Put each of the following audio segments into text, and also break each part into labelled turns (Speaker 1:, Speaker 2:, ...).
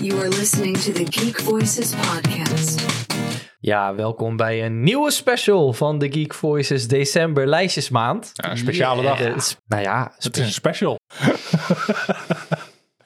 Speaker 1: You are listening to the Geek Voices podcast.
Speaker 2: Ja, welkom bij een nieuwe special van de Geek Voices December lijstjesmaand.
Speaker 3: Ja, een speciale dag.
Speaker 2: Eh, s- nou ja,
Speaker 3: Het is een special.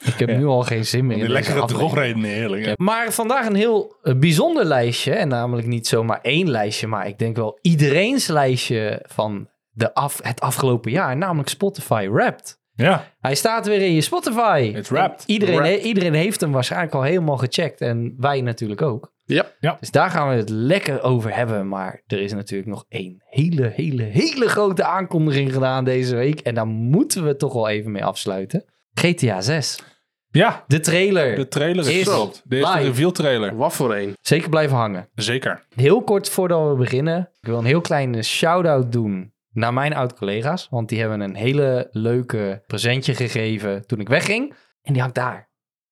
Speaker 2: ik heb nu al geen zin meer
Speaker 3: Die
Speaker 2: in deze
Speaker 3: lekkere
Speaker 2: aflevering.
Speaker 3: drogreden, heerlijk. hè?
Speaker 2: Maar vandaag een heel eh, bijzonder lijstje. En namelijk niet zomaar één lijstje, maar ik denk wel iedereen's lijstje van de af, het afgelopen jaar. Namelijk Spotify Wrapped.
Speaker 3: Ja,
Speaker 2: Hij staat weer in je Spotify.
Speaker 3: it's wrapped.
Speaker 2: Iedereen, iedereen heeft hem waarschijnlijk al helemaal gecheckt. En wij natuurlijk ook.
Speaker 4: Ja.
Speaker 3: Ja.
Speaker 2: Dus daar gaan we het lekker over hebben. Maar er is natuurlijk nog één hele, hele, hele grote aankondiging gedaan deze week. En daar moeten we toch wel even mee afsluiten. GTA 6.
Speaker 3: Ja,
Speaker 2: De trailer.
Speaker 3: de trailer is
Speaker 2: Is
Speaker 3: gestopt. De eerste
Speaker 2: live.
Speaker 3: reveal trailer.
Speaker 4: Wat voor een?
Speaker 2: Zeker blijven hangen.
Speaker 3: Zeker.
Speaker 2: Heel kort voordat we beginnen. Ik wil een heel kleine shout-out doen naar mijn oud-collega's. Want die hebben een hele leuke presentje gegeven toen ik wegging. En die hangt daar.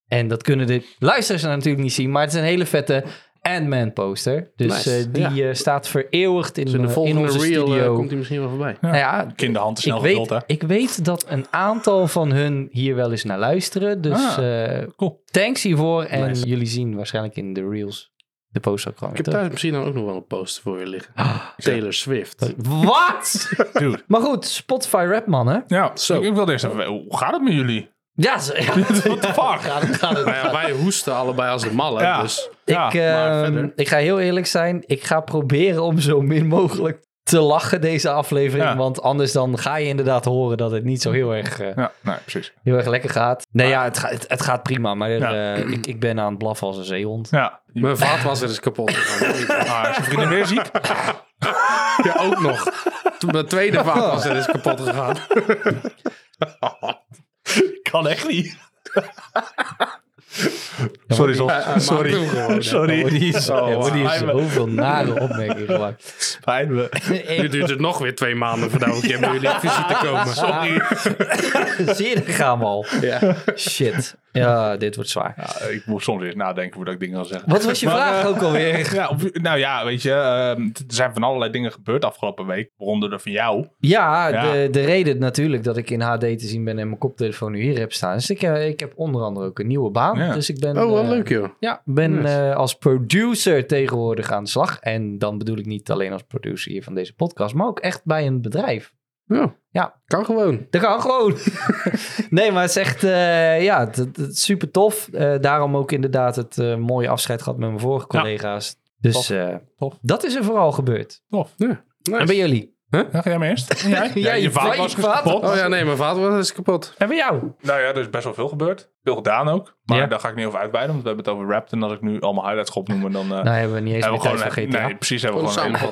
Speaker 2: En dat kunnen de luisteraars natuurlijk niet zien. Maar het is een hele vette Ant-Man poster. Dus
Speaker 4: Nice,
Speaker 2: eh, die
Speaker 4: ja.
Speaker 2: eh, staat vereeuwigd in,
Speaker 4: Dus in de
Speaker 2: eh,
Speaker 4: volgende
Speaker 2: onze
Speaker 4: reel eh,
Speaker 2: studio.
Speaker 4: komt hij misschien wel voorbij.
Speaker 2: Nou ja,
Speaker 3: Kinderhand is
Speaker 2: ik
Speaker 3: snel geduld, hè?
Speaker 2: weet, ik weet dat een aantal van hun hier wel eens naar luisteren. Dus eh,
Speaker 3: Cool.
Speaker 2: thanks hiervoor. En
Speaker 3: Ah. Nice.
Speaker 2: jullie zien waarschijnlijk in de reels de poster ook gewoon
Speaker 4: Ik heb
Speaker 2: weer terug.
Speaker 4: daar misschien dan ook nog wel een poster voor je liggen.
Speaker 3: Ah,
Speaker 4: Taylor Swift.
Speaker 2: Wat?
Speaker 3: Dude.
Speaker 2: Maar goed, Spotify rap mannen.
Speaker 3: Ja,
Speaker 4: Zo.
Speaker 3: ik, ik wilde eerst even... Hoe gaat het met jullie?
Speaker 2: Ja, ze- ja,
Speaker 3: What the fuck?
Speaker 2: gaat het, gaat het.
Speaker 4: Nou ja, wij hoesten allebei als de malle.
Speaker 3: Ja.
Speaker 4: Dus
Speaker 3: Ja,
Speaker 2: ik,
Speaker 3: maar
Speaker 2: ehm,
Speaker 3: verder.
Speaker 2: ik ga heel eerlijk zijn. Ik ga proberen om zo min mogelijk te lachen deze aflevering.
Speaker 3: Ja.
Speaker 2: Want anders dan ga je inderdaad horen dat het niet zo heel erg, eh,
Speaker 3: Ja, nee, precies.
Speaker 2: heel erg lekker gaat. Nee, ja, het, ga- het, het gaat prima. Maar eh,
Speaker 3: Ja.
Speaker 2: ik, ik ben aan het blaffen als een zeehond.
Speaker 3: Ja.
Speaker 4: mijn vaatwasser is kapot gegaan.
Speaker 3: Ah, is je vriendin weer ziek?
Speaker 4: Ja, ook nog. Toen mijn tweede vaatwasser is kapot gegaan.
Speaker 3: kan echt niet. Sorry, Sol.
Speaker 4: hij maakt hem
Speaker 3: Sorry.
Speaker 4: gewoon.
Speaker 2: Ja,
Speaker 3: Sorry.
Speaker 2: Oh,
Speaker 3: Zo,
Speaker 2: er worden hier
Speaker 3: spijt me.
Speaker 2: zoveel nare opmerkingen gemaakt.
Speaker 3: Spijt me.
Speaker 4: Nu duurt het nog weer twee maanden voordat we een keer bij jullie op visite komen.
Speaker 3: Sorry.
Speaker 2: Zie je, daar gaan we al.
Speaker 4: Ja.
Speaker 2: Shit. Ja, dit wordt zwaar.
Speaker 3: Ja, ik moet soms weer nadenken voordat ik dingen wil zeggen.
Speaker 2: Wat was je
Speaker 3: Maar,
Speaker 2: vraag
Speaker 3: eh,
Speaker 2: ook alweer?
Speaker 3: Ja, of- nou ja, weet je, ehm, t- er zijn van allerlei dingen gebeurd afgelopen week, waaronder de van jou.
Speaker 2: Ja,
Speaker 3: Ja.
Speaker 2: De, de reden natuurlijk dat ik in HD te zien ben en mijn koptelefoon nu hier heb staan. Dus ik, eh, ik heb onder andere ook een nieuwe baan.
Speaker 3: Ja.
Speaker 2: Dus ik ben,
Speaker 4: Oh, wat
Speaker 2: eh,
Speaker 4: leuk joh.
Speaker 2: Ja, ben
Speaker 4: Nice.
Speaker 2: eh, als producer tegenwoordig aan de slag. En dan bedoel ik niet alleen als producer hier van deze podcast, maar ook echt bij een bedrijf.
Speaker 4: Ja.
Speaker 2: Ja.
Speaker 4: Kan gewoon.
Speaker 2: Dat kan gewoon. nee, maar het is echt eh, ja, het, het- het is super tof. Eh, daarom ook inderdaad het eh, mooie afscheid gehad met mijn vorige
Speaker 3: Ja.
Speaker 2: collega's. Dus
Speaker 3: Tof.
Speaker 2: eh,
Speaker 3: Tof.
Speaker 2: dat is er vooral gebeurd. En bij jullie?
Speaker 3: Ja, ga jij maar eerst? En jij?
Speaker 2: Ja, je
Speaker 3: vader
Speaker 2: vader- je vader-
Speaker 4: Oh ja, nee, mijn vaatwasser is kapot.
Speaker 2: En bij jou?
Speaker 3: Nou ja, er is best wel veel gebeurd. Veel gedaan ook. Maar
Speaker 2: Ja.
Speaker 3: daar ga ik niet over uitweiden, want we hebben het over Rapt. En als ik nu allemaal highlights ga opnoemen, dan eh,
Speaker 2: Nou, hebben we niet eens meer
Speaker 3: hebben we
Speaker 2: tijd
Speaker 3: gewoon...
Speaker 2: van GTA.
Speaker 3: een- nee, precies, hebben we
Speaker 4: Gewoon
Speaker 3: gewoon een hele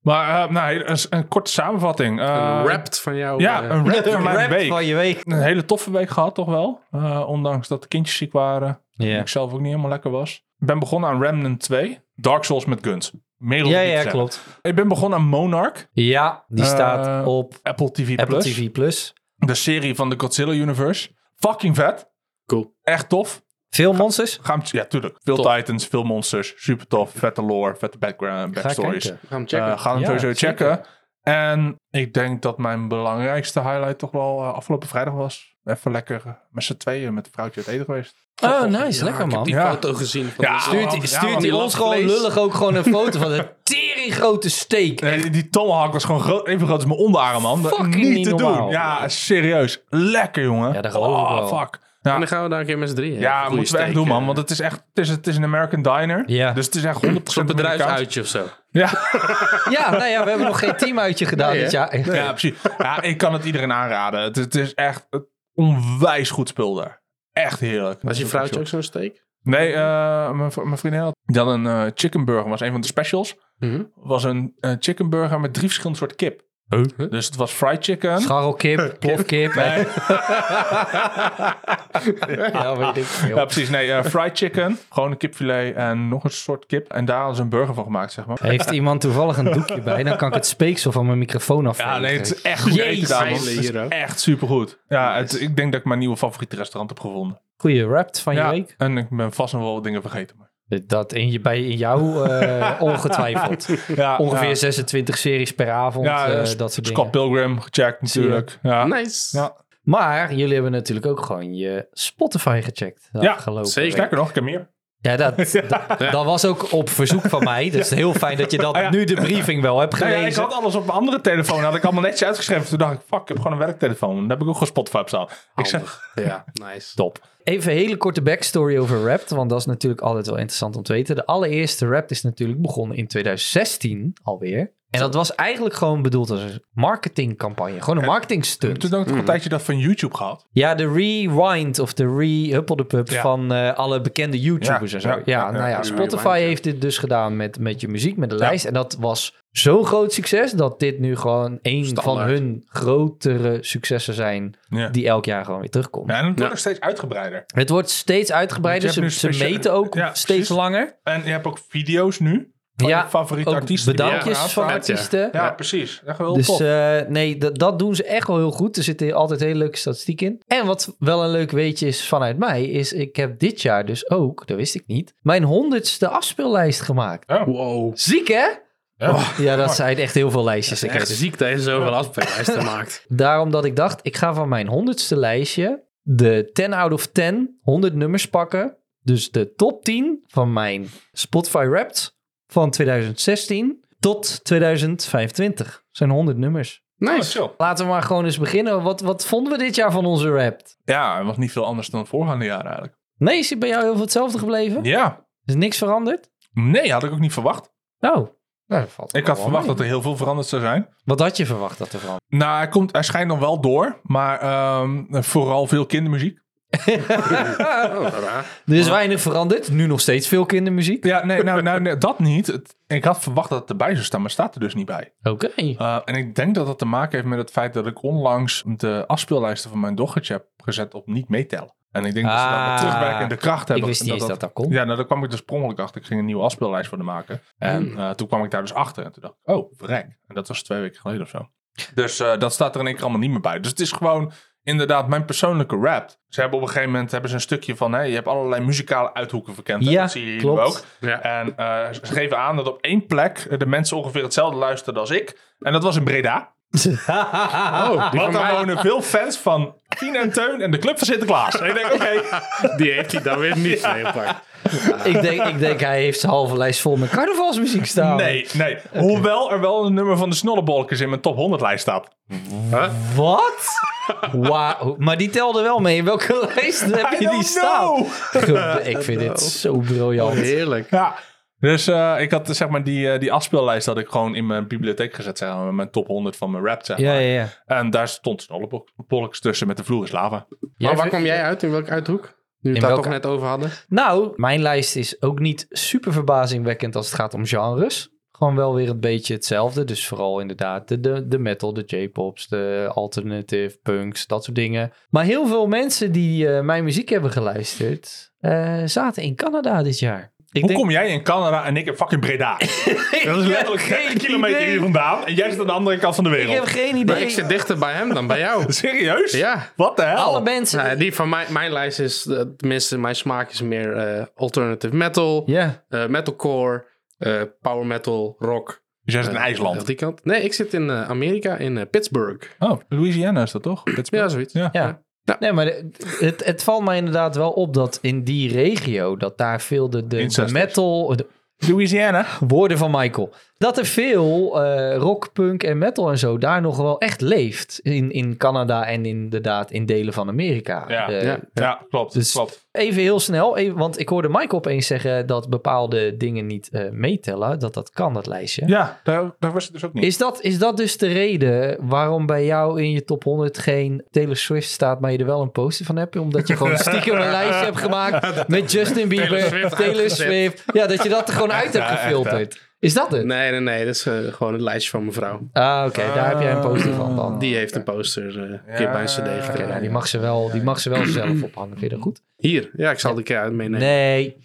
Speaker 3: podcast. Maar eh, nou, heel- een, een korte samenvatting. Eh,
Speaker 4: Een Wrapped van jou.
Speaker 3: Ja,
Speaker 4: eh,
Speaker 3: een rap van mijn
Speaker 2: Rap
Speaker 3: week.
Speaker 2: van je week.
Speaker 3: Een hele toffe week gehad, toch wel? Eh, ondanks dat de kindjes ziek waren.
Speaker 2: Ja.
Speaker 3: Ik zelf ook niet helemaal lekker was. Ik ben begonnen aan Remnant 2. Dark Souls met guns. Meer dan
Speaker 2: Ja,
Speaker 3: niet te
Speaker 2: ja,
Speaker 3: zeggen.
Speaker 2: klopt.
Speaker 3: Ik ben begonnen aan Monarch.
Speaker 2: Ja, die
Speaker 3: Eh,
Speaker 2: staat op
Speaker 3: Apple TV+.
Speaker 2: Apple
Speaker 3: Plus.
Speaker 2: TV+. Plus.
Speaker 3: De serie van de Godzilla Universe. Fucking vet.
Speaker 4: Cool.
Speaker 3: Echt tof.
Speaker 2: Veel monsters?
Speaker 3: Gaan we- ja, tuurlijk. Veel
Speaker 4: Tof.
Speaker 3: titans, veel monsters. Super tof. Vette lore, vette background,
Speaker 2: Ga
Speaker 3: backstories.
Speaker 2: kijken.
Speaker 4: Ga hem checken.
Speaker 3: Eh, gaan we
Speaker 2: Ja,
Speaker 3: sowieso
Speaker 2: zeker.
Speaker 3: checken. En ik denk dat mijn belangrijkste highlight toch wel eh, afgelopen vrijdag was. Even lekker eh, met z'n tweeën met een vrouwtje uit eten geweest.
Speaker 2: Oh, nice.
Speaker 4: Ja,
Speaker 2: lekker,
Speaker 4: ik heb
Speaker 2: man.
Speaker 4: die
Speaker 3: Ja.
Speaker 4: foto gezien. Van
Speaker 3: Ja.
Speaker 4: ja.
Speaker 3: Stuur-
Speaker 2: Stuurt,
Speaker 3: man,
Speaker 2: stuurt hij
Speaker 3: die
Speaker 2: ons gewoon
Speaker 4: lapvlees.
Speaker 2: lullig ook gewoon een foto van een tering grote steek.
Speaker 3: Nee, die tomahawk was gewoon groot, even groot als mijn onderarm, man. Dat-
Speaker 2: Fucking niet
Speaker 3: niet te doen.
Speaker 2: normaal.
Speaker 3: Ja, serieus. Lekker, jongen. Oh,
Speaker 2: Ja, dat geloof ik wel.
Speaker 3: fuck. Ja,
Speaker 4: En dan gaan we daar een keer met z'n drieën.
Speaker 3: ja moeten we echt
Speaker 4: eh.
Speaker 3: doen, man. Want het is echt, het is, het is een American diner.
Speaker 2: eh. Ja.
Speaker 3: Dus het is echt 100%
Speaker 4: Zo'n
Speaker 3: Amerikaans.
Speaker 4: bedrijfsuitje of zo.
Speaker 3: Ja.
Speaker 2: Ja, nou ja, we hebben nog geen teamuitje gedaan
Speaker 4: Nee,
Speaker 2: dit
Speaker 4: hè?
Speaker 2: jaar.
Speaker 3: Ja, precies. Ja, ik kan het iedereen aanraden. Het, het is echt een onwijs goed spul daar. Echt heerlijk.
Speaker 4: Was je vrouwtje ook zo'n steek?
Speaker 3: Nee, eh, mijn v- mijn vriendin had die had een eh, chicken burger. was een van de specials.
Speaker 4: Mhm.
Speaker 3: was een eh, chicken burger met drie verschillende soorten kip. Dus het was fried chicken.
Speaker 2: Scharrelkip, plofkip.
Speaker 3: Nee.
Speaker 2: Ja, weet ik veel.
Speaker 3: Ja, precies. Nee, eh, fried chicken. Gewoon een kipfilet en nog een soort kip. En daar hadden ze een burger van gemaakt, zeg maar.
Speaker 2: Heeft iemand toevallig een doekje bij, dan kan ik het speeksel van mijn microfoon af.
Speaker 3: Ja, nee, het is echt goed eten
Speaker 2: Jezus.
Speaker 3: daar, man. Het
Speaker 4: Hele
Speaker 3: is
Speaker 4: hier ook.
Speaker 3: echt supergoed. Ja, het, ik denk dat ik mijn nieuwe favoriete restaurant heb gevonden.
Speaker 2: Goeie rapt van je
Speaker 3: Ja,
Speaker 2: week.
Speaker 3: en ik ben vast nog wel wat dingen vergeten. Maar.
Speaker 2: Dat in, je, bij, in jou eh, ongetwijfeld.
Speaker 3: Ja,
Speaker 2: Ongeveer
Speaker 3: ja.
Speaker 2: 26 series per avond,
Speaker 3: Ja,
Speaker 2: eh,
Speaker 3: eh,
Speaker 2: dat soort
Speaker 3: Scott
Speaker 2: dingen.
Speaker 3: Pilgrim gecheckt
Speaker 2: Zie je.
Speaker 4: Ah.
Speaker 2: Nou,
Speaker 3: natuurlijk. Ja.
Speaker 4: Nice.
Speaker 3: Ja.
Speaker 2: Maar jullie hebben natuurlijk ook gewoon je Spotify gecheckt. de
Speaker 3: Ja,
Speaker 2: afgelopen
Speaker 4: zeker.
Speaker 2: week.
Speaker 3: Sterker nog, ik heb meer.
Speaker 2: Ja, dat, dat, dat was ook op verzoek van mij. Dus heel fijn dat je dat
Speaker 3: Ah, ja.
Speaker 2: nu de briefing wel hebt
Speaker 3: Nou ja, ik
Speaker 2: gelezen.
Speaker 3: had alles op mijn andere telefoon. Had ik allemaal netjes uitgeschreven. Toen dacht ik, fuck, ik heb gewoon een werktelefoon. Dan heb ik ook gewoon Spotify op staan. Ik zeg,
Speaker 4: Handig. Ja, nice.
Speaker 3: top.
Speaker 2: Even een hele korte backstory over Rapt, want dat is natuurlijk altijd wel interessant om te weten. De allereerste Rapt is natuurlijk begonnen in 2016 alweer. En dat was eigenlijk gewoon bedoeld als een marketingcampagne. Gewoon een marketingstunt.
Speaker 3: Toen had ik
Speaker 4: Mm.
Speaker 3: toch een tijdje dat van YouTube gehad.
Speaker 2: Ja, de rewind of de re de pub
Speaker 3: Ja.
Speaker 2: van eh, alle bekende YouTubers
Speaker 3: Ja,
Speaker 2: en zo.
Speaker 3: ja,
Speaker 2: Ja,
Speaker 3: ja,
Speaker 2: nou
Speaker 3: ja,
Speaker 2: ja,
Speaker 4: de
Speaker 2: Spotify
Speaker 4: rewind, ja.
Speaker 2: heeft dit dus gedaan met, met je muziek, met de lijst. En dat was zo'n groot succes dat dit nu gewoon een van
Speaker 4: Standaard.
Speaker 2: hun grotere successen zijn
Speaker 3: Ja.
Speaker 2: die elk jaar gewoon weer terugkomt.
Speaker 3: Ja, en het wordt
Speaker 4: Ja.
Speaker 3: nog steeds uitgebreider.
Speaker 2: Het wordt steeds uitgebreider.
Speaker 3: Want je
Speaker 2: Ze,
Speaker 3: hebt
Speaker 2: ze
Speaker 3: nu speciale-
Speaker 2: meten ook
Speaker 3: Ja,
Speaker 2: steeds
Speaker 3: precies.
Speaker 2: langer.
Speaker 3: En je hebt ook video's nu. Van
Speaker 2: Ja,
Speaker 3: je favoriete
Speaker 2: Ook
Speaker 3: artiesten. die
Speaker 2: bedankjes
Speaker 4: Ja,
Speaker 2: van
Speaker 4: vet, ja.
Speaker 2: artiesten.
Speaker 3: Ja, precies. Echt wel
Speaker 4: Oh,
Speaker 3: heel
Speaker 2: Dus
Speaker 3: tof.
Speaker 2: eh, nee, dat- dat doen ze echt wel heel goed. Er zitten altijd hele leuke statistieken in. En wat wel een leuk weetje is vanuit mij, is ik heb dit jaar dus ook, dat wist ik niet, mijn honderdste afspeellijst gemaakt.
Speaker 4: Wow.
Speaker 2: Ziek hè?
Speaker 3: Oh, Ja.
Speaker 2: Ja, dat zijn echt heel veel lijstjes.
Speaker 4: Ik
Speaker 2: Ik
Speaker 4: echt ziek dat je zoveel afspeellijsten maakt.
Speaker 2: Daarom dat ik dacht, ik ga van mijn honderdste lijstje de 10 out of 10, 100 nummers pakken. Dus de top 10 van mijn Spotify Wrapped van 2016 tot 2025. Dat zijn 100 nummers.
Speaker 4: Nice.
Speaker 3: chill.
Speaker 2: Laten we maar gewoon eens beginnen. Wat, wat vonden we dit jaar van onze Wrapped?
Speaker 3: Ja, het was niet veel anders dan het voorgaande jaar eigenlijk.
Speaker 2: Nee, is het bij jou heel veel hetzelfde gebleven?
Speaker 3: Ja.
Speaker 2: Is niks veranderd?
Speaker 3: Nee, had ik ook niet verwacht.
Speaker 2: Oh. Nou, dat valt
Speaker 3: Ik had
Speaker 2: wel
Speaker 3: verwacht
Speaker 2: mee.
Speaker 3: dat er heel veel veranderd zou zijn.
Speaker 2: Wat had je verwacht dat er veranderd?
Speaker 3: Nou, hij, komt, hij schijnt dan wel door, maar ehm, vooral veel kindermuziek.
Speaker 4: Oh, raar.
Speaker 2: Er is weinig veranderd. Nu nog steeds veel kindermuziek.
Speaker 3: Ja, nee, nou, nou nee, dat niet. Het- ik had verwacht dat het erbij zou staan, maar het staat er dus niet bij.
Speaker 2: Oké.
Speaker 3: Eh, en ik denk dat dat te maken heeft met het feit dat ik onlangs de afspeellijsten van mijn dochtertje heb gezet op niet meetellen. En ik denk dat ze dan
Speaker 2: Ah,
Speaker 3: met terugwerkende kracht hebben.
Speaker 2: Ik wist niet eens dat dat kon.
Speaker 3: Ja, nou, daar kwam ik dus per ongeluk achter. Ik ging een nieuwe afspeellijst voor de maken. En eh, toen kwam ik daar dus achter. En toen dacht ik, oh, verrek. En dat was twee weken geleden of zo. Dus eh, dat staat er in één keer allemaal niet meer bij. Dus het is gewoon inderdaad mijn persoonlijke rap. Ze hebben op een gegeven moment hebben ze een stukje van... Hey, je hebt allerlei muzikale uithoeken verkend. hè?
Speaker 2: Ja,
Speaker 3: dat zie je hier
Speaker 2: klopt.
Speaker 3: ook.
Speaker 4: Ja.
Speaker 3: En eh, ze geven aan dat op één plek de mensen ongeveer hetzelfde luisterden als ik. En dat was in Breda.
Speaker 4: Oh, die
Speaker 3: Want
Speaker 4: van
Speaker 3: daar
Speaker 4: mij,
Speaker 3: wonen veel fans van Tien en Teun en de Club van Sinterklaas. En ik denk, oké.
Speaker 4: die heeft hij dan weer niet meegepakt.
Speaker 2: ik, denk, ik denk, hij heeft zijn halve lijst vol met carnavalsmuziek staan.
Speaker 3: Nee, nee. Hoewel er wel een nummer van de snollebolkers in mijn top 100 lijst staat.
Speaker 2: Wat? Wauw. Maar die telde wel mee. In welke lijst heb je die staan? Ge- Ik vind dit zo briljant.
Speaker 4: Oh, Heerlijk.
Speaker 3: Ja. Dus eh, ik had zeg maar die, eh, die afspeellijst had ik gewoon in mijn bibliotheek gezet, zeg maar, met mijn top 100 van mijn rap, zeg maar.
Speaker 2: Ja, ja, ja.
Speaker 3: En daar stond snollebolkers tussen met de vloer is lava.
Speaker 2: Jij
Speaker 4: Maar waar
Speaker 2: vindt-
Speaker 4: kwam jij uit? In welke uithoek? Nu we
Speaker 2: In
Speaker 4: het daar
Speaker 2: welke-
Speaker 4: toch net over hadden.
Speaker 2: Nou, mijn lijst is ook niet super verbazingwekkend als het gaat om genres. Gewoon wel weer een beetje hetzelfde. Dus vooral inderdaad de, de, de metal, de J-pops, de alternative punks, dat soort dingen. Maar heel veel mensen die eh, mijn muziek hebben geluisterd, eh, zaten in Canada dit jaar. Ik
Speaker 3: Hoe kom jij in Canada en ik in fucking Breda? Dat is letterlijk
Speaker 2: Ik heb
Speaker 3: 30
Speaker 2: geen
Speaker 3: kilometer
Speaker 2: idee.
Speaker 3: hier vandaan. En jij zit aan de andere kant van de
Speaker 2: Ik heb
Speaker 3: wereld.
Speaker 2: geen
Speaker 4: Maar
Speaker 2: idee.
Speaker 4: ik zit dichter bij hem dan bij jou.
Speaker 3: Serieus?
Speaker 4: Ja.
Speaker 3: Wat de hel?
Speaker 2: Alle mensen.
Speaker 4: Nou, die van mij, mijn lijst is, eh, tenminste mijn smaak is meer eh, alternative metal,
Speaker 2: Ja.
Speaker 4: eh, metalcore, eh, power metal, rock.
Speaker 3: Dus jij zit in
Speaker 4: Eh,
Speaker 3: IJsland.
Speaker 4: Die kant. Nee, ik zit in eh, Amerika, in eh, Pittsburgh.
Speaker 3: Oh, Louisiana is dat toch? Pittsburgh.
Speaker 4: Ja, zoiets.
Speaker 3: Ja.
Speaker 2: Ja.
Speaker 4: Ja.
Speaker 2: Nee, maar de- het, het valt mij inderdaad wel op dat in die regio, dat daar veel de, de, de
Speaker 3: Incest.
Speaker 2: metal, de
Speaker 3: Louisiana.
Speaker 2: woorden van Michael, dat er veel eh, rock, punk en metal en zo daar nog wel echt leeft. In, in Canada en inderdaad in delen van Amerika.
Speaker 3: Ja.
Speaker 2: Eh,
Speaker 4: Ja.
Speaker 3: Ja, klopt.
Speaker 2: Dus-
Speaker 3: klopt.
Speaker 2: Even heel snel, even- want ik hoorde Michael opeens zeggen dat bepaalde dingen niet eh, meetellen. Dat dat kan, dat lijstje.
Speaker 3: Ja, daar, daar was het dus ook niet.
Speaker 2: Is dat, is dat dus de reden waarom bij jou in je top 100 geen Taylor Swift staat, maar je er wel een poster van hebt? Omdat je gewoon stiekem een lijstje hebt gemaakt met Justin Bieber, Taylor
Speaker 4: Taylor
Speaker 2: Swift.
Speaker 4: Swift
Speaker 2: Ja, dat je dat er gewoon uit hebt gefilterd. Is dat het?
Speaker 4: Nee, nee, nee, dat is eh, gewoon het lijstje van mevrouw.
Speaker 2: Ah, oké, daar heb jij een poster van dan.
Speaker 4: Die heeft een poster eh, een keer bij een
Speaker 3: Ja.
Speaker 4: cd
Speaker 2: Oké, nou,
Speaker 4: gekregen.
Speaker 2: die mag ze wel, die mag ze wel zelf ophangen. Vind je dat goed?
Speaker 4: Hier, ja, ik zal die keer uit meenemen.
Speaker 2: Nee.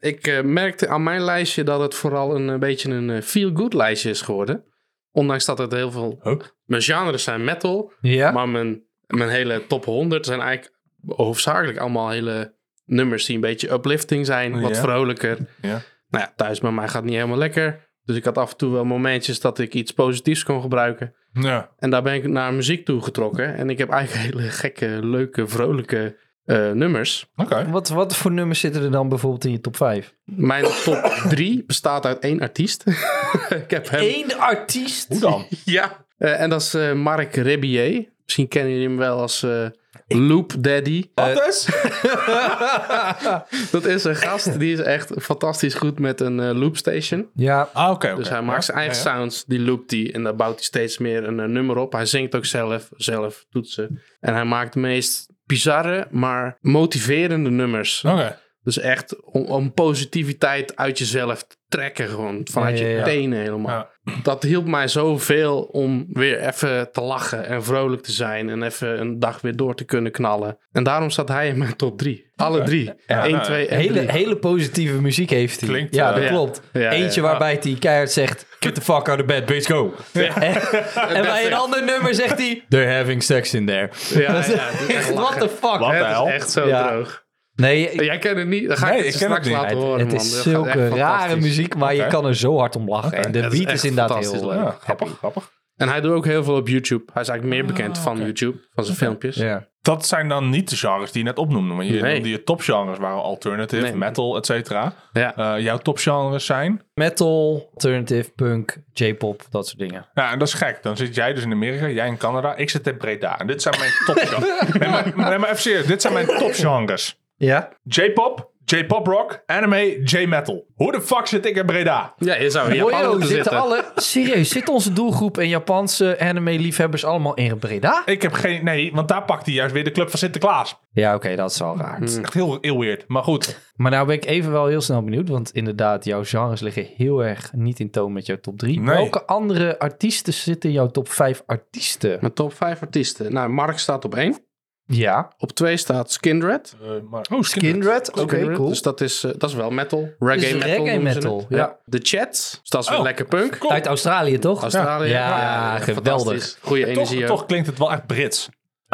Speaker 4: Ik eh, merkte aan mijn lijstje dat het vooral een, eh, beetje een eh, feel-good lijstje is geworden. Ondanks dat het heel veel...
Speaker 3: Huh?
Speaker 4: Mijn genres zijn metal,
Speaker 2: Ja?
Speaker 4: Maar mijn, mijn hele top 100 zijn eigenlijk hoofdzakelijk allemaal hele nummers die een beetje uplifting zijn. Wat
Speaker 3: Ja.
Speaker 4: vrolijker.
Speaker 3: Ja.
Speaker 4: Nou ja, thuis bij mij gaat het niet helemaal lekker. Dus ik had af en toe wel momentjes dat ik iets positiefs kon gebruiken.
Speaker 3: Ja.
Speaker 4: En daar ben ik naar muziek toe getrokken. En ik heb eigenlijk hele gekke, leuke, vrolijke eh, nummers.
Speaker 3: Oké.
Speaker 2: Wat, wat voor nummers zitten er dan bijvoorbeeld in je top 5?
Speaker 4: Mijn top 3 bestaat uit één artiest. ik heb hem.
Speaker 2: Eén artiest?
Speaker 3: Hoe dan?
Speaker 4: Ja. Eh, en dat is eh, Mark Rebier. Misschien kennen jullie hem wel als eh, Loop Daddy.
Speaker 3: Wat is?
Speaker 4: Dat is een gast die is echt fantastisch goed met een eh, loopstation.
Speaker 2: Ja,
Speaker 3: Ah, oké. oké.
Speaker 4: Dus hij maakt
Speaker 3: Ja,
Speaker 4: zijn eigen
Speaker 3: ja, ja.
Speaker 4: sounds, die loopt die en daar bouwt hij steeds meer een eh, nummer op. Hij zingt ook zelf, zelf toetsen. En hij maakt de meest bizarre, maar motiverende nummers.
Speaker 3: Oké.
Speaker 4: Dus echt om, om positiviteit uit jezelf te trekken gewoon. Vanuit
Speaker 2: Ja, ja, ja.
Speaker 4: je tenen helemaal.
Speaker 3: Ja.
Speaker 4: Dat hielp mij zoveel om weer even te lachen en vrolijk te zijn. En even een dag weer door te kunnen knallen. En daarom staat hij in mijn top drie. Alle drie.
Speaker 3: Ja,
Speaker 4: 1,
Speaker 3: nou,
Speaker 4: 2 en
Speaker 2: hele,
Speaker 4: drie.
Speaker 2: hele positieve muziek heeft hij.
Speaker 3: Klinkt,
Speaker 2: ja,
Speaker 3: eh,
Speaker 2: dat
Speaker 4: ja.
Speaker 2: klopt.
Speaker 4: Ja,
Speaker 2: Eentje waarbij hij keihard zegt... Get the fuck out of bed, bitch, go. En, en bij een ander nummer zegt hij... They're having sex in there.
Speaker 4: Ja,
Speaker 2: Dat is
Speaker 4: ja, die
Speaker 2: echt, what the fuck?
Speaker 3: Wat?
Speaker 4: Het
Speaker 3: Wel.
Speaker 4: is echt zo
Speaker 2: Ja.
Speaker 4: droog.
Speaker 2: Nee, ik-
Speaker 4: Jij kent het niet. Dan ga
Speaker 3: Nee,
Speaker 4: ik het
Speaker 3: ik ken
Speaker 4: straks
Speaker 3: het niet.
Speaker 4: laten
Speaker 2: het,
Speaker 4: horen,
Speaker 2: het
Speaker 4: man.
Speaker 2: is
Speaker 4: Dat gaat echt
Speaker 2: zulke rare
Speaker 4: fantastisch.
Speaker 2: muziek, maar je
Speaker 3: Oké.
Speaker 2: kan er zo hard om lachen. En de
Speaker 4: Het is
Speaker 2: beat
Speaker 4: echt
Speaker 2: is, inderdaad
Speaker 4: fantastisch
Speaker 2: heel
Speaker 4: leuk.
Speaker 2: leuk.
Speaker 3: Ja, grappig, grappig.
Speaker 4: En hij doet ook heel veel op YouTube. Hij is eigenlijk meer bekend
Speaker 3: Oh,
Speaker 4: van YouTube, van zijn filmpjes.
Speaker 2: Ja.
Speaker 3: Dat zijn dan niet de genres die je net opnoemde. Want je
Speaker 4: Nee.
Speaker 3: noemde je topgenres waren alternative,
Speaker 4: Nee.
Speaker 3: metal, et cetera.
Speaker 4: Ja.
Speaker 3: Eh, jouw topgenres zijn?
Speaker 2: Metal, alternative, punk, J-pop, dat soort dingen.
Speaker 3: Ja, en dat is gek. Dan zit jij dus in Amerika, jij in Canada, ik zit in Breda. En dit zijn mijn topgenres. nee, maar, nee, maar even serieus. Dit zijn mijn topgenres.
Speaker 2: Ja?
Speaker 3: J-pop, J-pop rock, anime, J-metal. Hoe de fuck zit ik in Breda?
Speaker 4: ja, je zou in
Speaker 2: Boyo,
Speaker 4: Japan moeten
Speaker 2: zitten
Speaker 4: zitten.
Speaker 2: alle... Serieus, zit onze doelgroep en Japanse anime-liefhebbers allemaal in Breda?
Speaker 3: Ik heb geen... Nee, want daar pakt hij juist weer de club van Sinterklaas.
Speaker 2: Ja, oké, dat is wel raar.
Speaker 3: Het is echt heel, heel weird. Maar goed.
Speaker 2: Maar nou ben ik even wel heel snel benieuwd, want inderdaad, jouw genres liggen heel erg niet in toon met jouw top 3.
Speaker 3: Nee.
Speaker 2: Welke andere artiesten zitten in jouw top 5 artiesten?
Speaker 4: Mijn top 5 artiesten. Nou, Mark staat op 1.
Speaker 2: Ja,
Speaker 4: Op 2 staat Skindred.
Speaker 3: Oh,
Speaker 2: Kindred, oké,
Speaker 4: Skindred.
Speaker 2: cool.
Speaker 4: Dus dat is, eh, dat is wel metal. Reggae
Speaker 2: Dus
Speaker 4: metal.
Speaker 2: reggae
Speaker 4: noemen ze
Speaker 2: metal,
Speaker 4: het.
Speaker 2: ja.
Speaker 4: De Chats. Dus dat is weer
Speaker 3: Oh.
Speaker 4: lekker punk.
Speaker 3: Cool.
Speaker 2: Uit Australië, toch?
Speaker 4: Australië.
Speaker 2: Ja, geweldig.
Speaker 4: fantastisch. Goede
Speaker 3: Toch,
Speaker 4: energie ook.
Speaker 3: toch klinkt het wel echt Brits.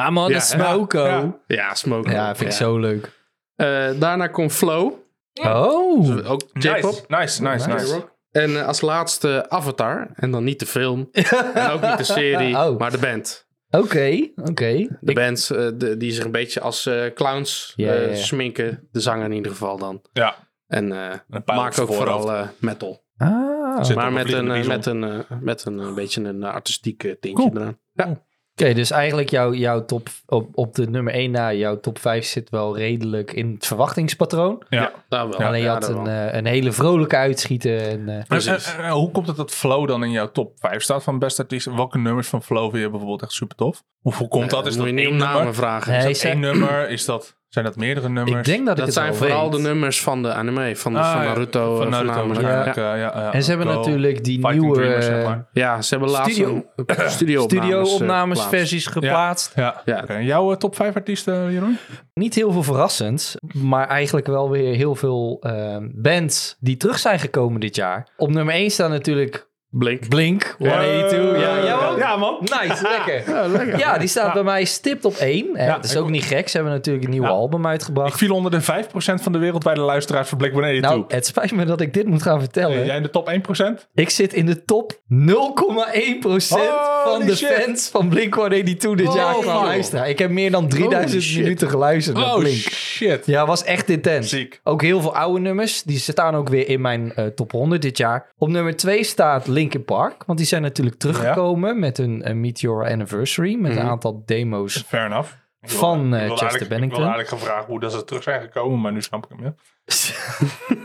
Speaker 2: I'm on
Speaker 4: Ja,
Speaker 2: the smoke,
Speaker 3: ja,
Speaker 2: oh.
Speaker 4: Ja, Smoke.
Speaker 2: ja. vind ik zo leuk.
Speaker 4: Eh, daarna komt Flow. Dus
Speaker 2: Oh,
Speaker 4: Ook J-pop.
Speaker 3: Nice, nice, nice. nice.
Speaker 4: En eh, als laatste Avatar. En dan niet de film. en ook niet de serie,
Speaker 2: Oh.
Speaker 4: maar de band.
Speaker 2: oké, oké.
Speaker 4: De bands eh, de- die zich een beetje als eh, clowns
Speaker 2: Ja,
Speaker 4: eh,
Speaker 2: ja, ja.
Speaker 4: sminken. De zanger in ieder geval dan.
Speaker 3: Ja.
Speaker 4: En eh
Speaker 3: Een pijl op
Speaker 4: maak
Speaker 3: zijn
Speaker 4: ook
Speaker 3: voorhoofd.
Speaker 4: vooral eh, metal.
Speaker 2: Ah, oké,
Speaker 3: Zit
Speaker 4: maar
Speaker 3: ook een
Speaker 4: met een,
Speaker 3: vliegende
Speaker 4: eh,
Speaker 3: bison.
Speaker 4: met, een, eh, met een eh, beetje een eh, artistiek eh, tintje
Speaker 3: Cool.
Speaker 4: eraan.
Speaker 2: dus eigenlijk jouw jouw top, op, op de nummer 1 na jouw top 5 zit wel redelijk in het verwachtingspatroon.
Speaker 3: Ja.
Speaker 4: Daar wel.
Speaker 2: Alleen je
Speaker 4: Ja,
Speaker 2: had
Speaker 4: daar
Speaker 2: een,
Speaker 4: wel.
Speaker 2: eh, een hele vrolijke uitschieter. En, eh,
Speaker 3: En-
Speaker 4: Precies.
Speaker 3: en- en hoe komt het dat Flow dan in jouw top 5 staat van beste artiesten? Welke nummers van Flow vind je bijvoorbeeld echt super tof? Hoe, hoe komt dat? Is
Speaker 4: Eh, Moet
Speaker 3: dat
Speaker 4: je
Speaker 3: één
Speaker 4: niet om
Speaker 3: nummer?
Speaker 4: namen vragen.
Speaker 2: Nee,
Speaker 3: Is dat
Speaker 2: Hij
Speaker 3: één nummer? Is dat, zijn dat meerdere nummers?
Speaker 2: ik denk dat ik
Speaker 4: dat
Speaker 2: het
Speaker 4: zijn
Speaker 2: wel
Speaker 4: vooral
Speaker 2: weet.
Speaker 4: de nummers van de anime, van, de,
Speaker 3: Ah,
Speaker 4: van
Speaker 3: ja,
Speaker 4: Naruto.
Speaker 3: Van
Speaker 4: eh,
Speaker 3: Naruto
Speaker 4: voornamelijk.
Speaker 3: waarschijnlijk,
Speaker 4: Ja.
Speaker 3: eh, ja, ja,
Speaker 2: En ze hebben
Speaker 3: Go,
Speaker 2: natuurlijk die
Speaker 3: Fighting
Speaker 2: nieuwe eh,
Speaker 3: Dreamers, zeg maar.
Speaker 4: Ja, ze hebben laatst
Speaker 2: Studio-
Speaker 4: een een studio-opnames. eh,
Speaker 2: studio-opnames,
Speaker 4: geplaatst.
Speaker 2: versies geplaatst.
Speaker 3: Ja.
Speaker 4: Ja.
Speaker 3: Oké, en jouw eh, top 5 artiesten, Jeroen?
Speaker 2: Niet heel veel verrassend, maar eigenlijk wel weer heel veel ehm, bands die terug zijn gekomen dit jaar. Op nummer 1 staan natuurlijk
Speaker 4: Blink.
Speaker 2: Blink, 182.
Speaker 3: Eh,
Speaker 2: ja, jij ook?
Speaker 3: ja, man.
Speaker 2: Nice, lekker. Ja, die staat bij mij stipt op 1.
Speaker 3: Ja,
Speaker 2: dat is
Speaker 3: ik
Speaker 2: ook
Speaker 3: ook.
Speaker 2: niet gek. Ze hebben natuurlijk een nieuwe
Speaker 3: Ja.
Speaker 2: album
Speaker 3: Ik
Speaker 2: uitgebracht.
Speaker 3: viel onder de 5% van de wereldwijde luisteraars van Black 182.
Speaker 2: Nou, het spijt me dat ik dit moet gaan vertellen.
Speaker 3: Jij in de top 1%?
Speaker 2: Ik zit in de top 0,1% van
Speaker 3: Holy
Speaker 2: de
Speaker 3: shit.
Speaker 2: fans van Blink-182 dit jaar
Speaker 3: Oh,
Speaker 2: qua
Speaker 3: joh.
Speaker 2: luisteraar. Ik heb meer dan 3000
Speaker 4: shit.
Speaker 2: minuten geluisterd naar Blink.
Speaker 3: Oh, shit.
Speaker 2: Ja, was echt intens.
Speaker 3: Ziek.
Speaker 2: Ook heel veel oude nummers. Die staan ook weer in mijn eh, top 100 dit jaar. Op nummer 2 staat Linkin Park. Want die zijn natuurlijk teruggekomen met hun eh, Meet Your Anniversary. Met
Speaker 3: Mhm.
Speaker 2: een aantal demo's.
Speaker 3: Fair enough. Ik wilde-
Speaker 2: Van, eh,
Speaker 3: ik wilde
Speaker 2: Chester
Speaker 3: eigenlijk-
Speaker 2: Bennington.
Speaker 3: Ik wilde eigenlijk gevraagd hoe dat ze terug zijn gekomen, maar nu snap ik hem. Ja.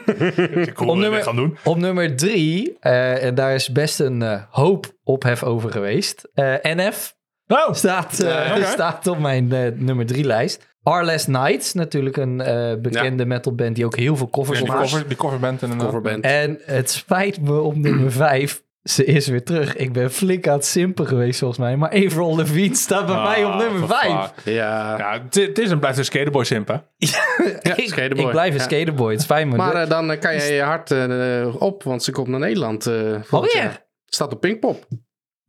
Speaker 3: Ik
Speaker 2: Om
Speaker 3: hoor wat
Speaker 2: nummer-
Speaker 3: we gaan doen.
Speaker 2: Op nummer 3, en daar is best een eh, hoop ophef over geweest. Eh, NF
Speaker 3: Nou,
Speaker 2: staat, eh,
Speaker 3: oké.
Speaker 2: staat op mijn eh, nummer 3 lijst. Our Last Nights, natuurlijk een eh, bekende metalband die ook heel veel covers
Speaker 3: die,
Speaker 2: op maakt.
Speaker 3: cover, die coverband en een
Speaker 4: Coverband.
Speaker 2: En het spijt me op nummer 5. Ze is weer terug. Ik ben flink aan het simpen geweest volgens mij. Maar Avril Lavigne staat
Speaker 4: Ah,
Speaker 3: Ah,
Speaker 2: bij mij op nummer 5.
Speaker 4: Ja.
Speaker 3: Ja, het het is en blijft een skaterboy simpen.
Speaker 4: Ja,
Speaker 2: ik,
Speaker 4: skaterboy.
Speaker 2: ik blijf een
Speaker 4: Ja.
Speaker 2: skaterboy. Het spijt me.
Speaker 4: Maar
Speaker 2: De-
Speaker 4: eh, dan eh, kan jij je hart eh, op, want ze komt naar Nederland. eh volgend
Speaker 2: Alweer?
Speaker 4: jaar. Staat op Pinkpop.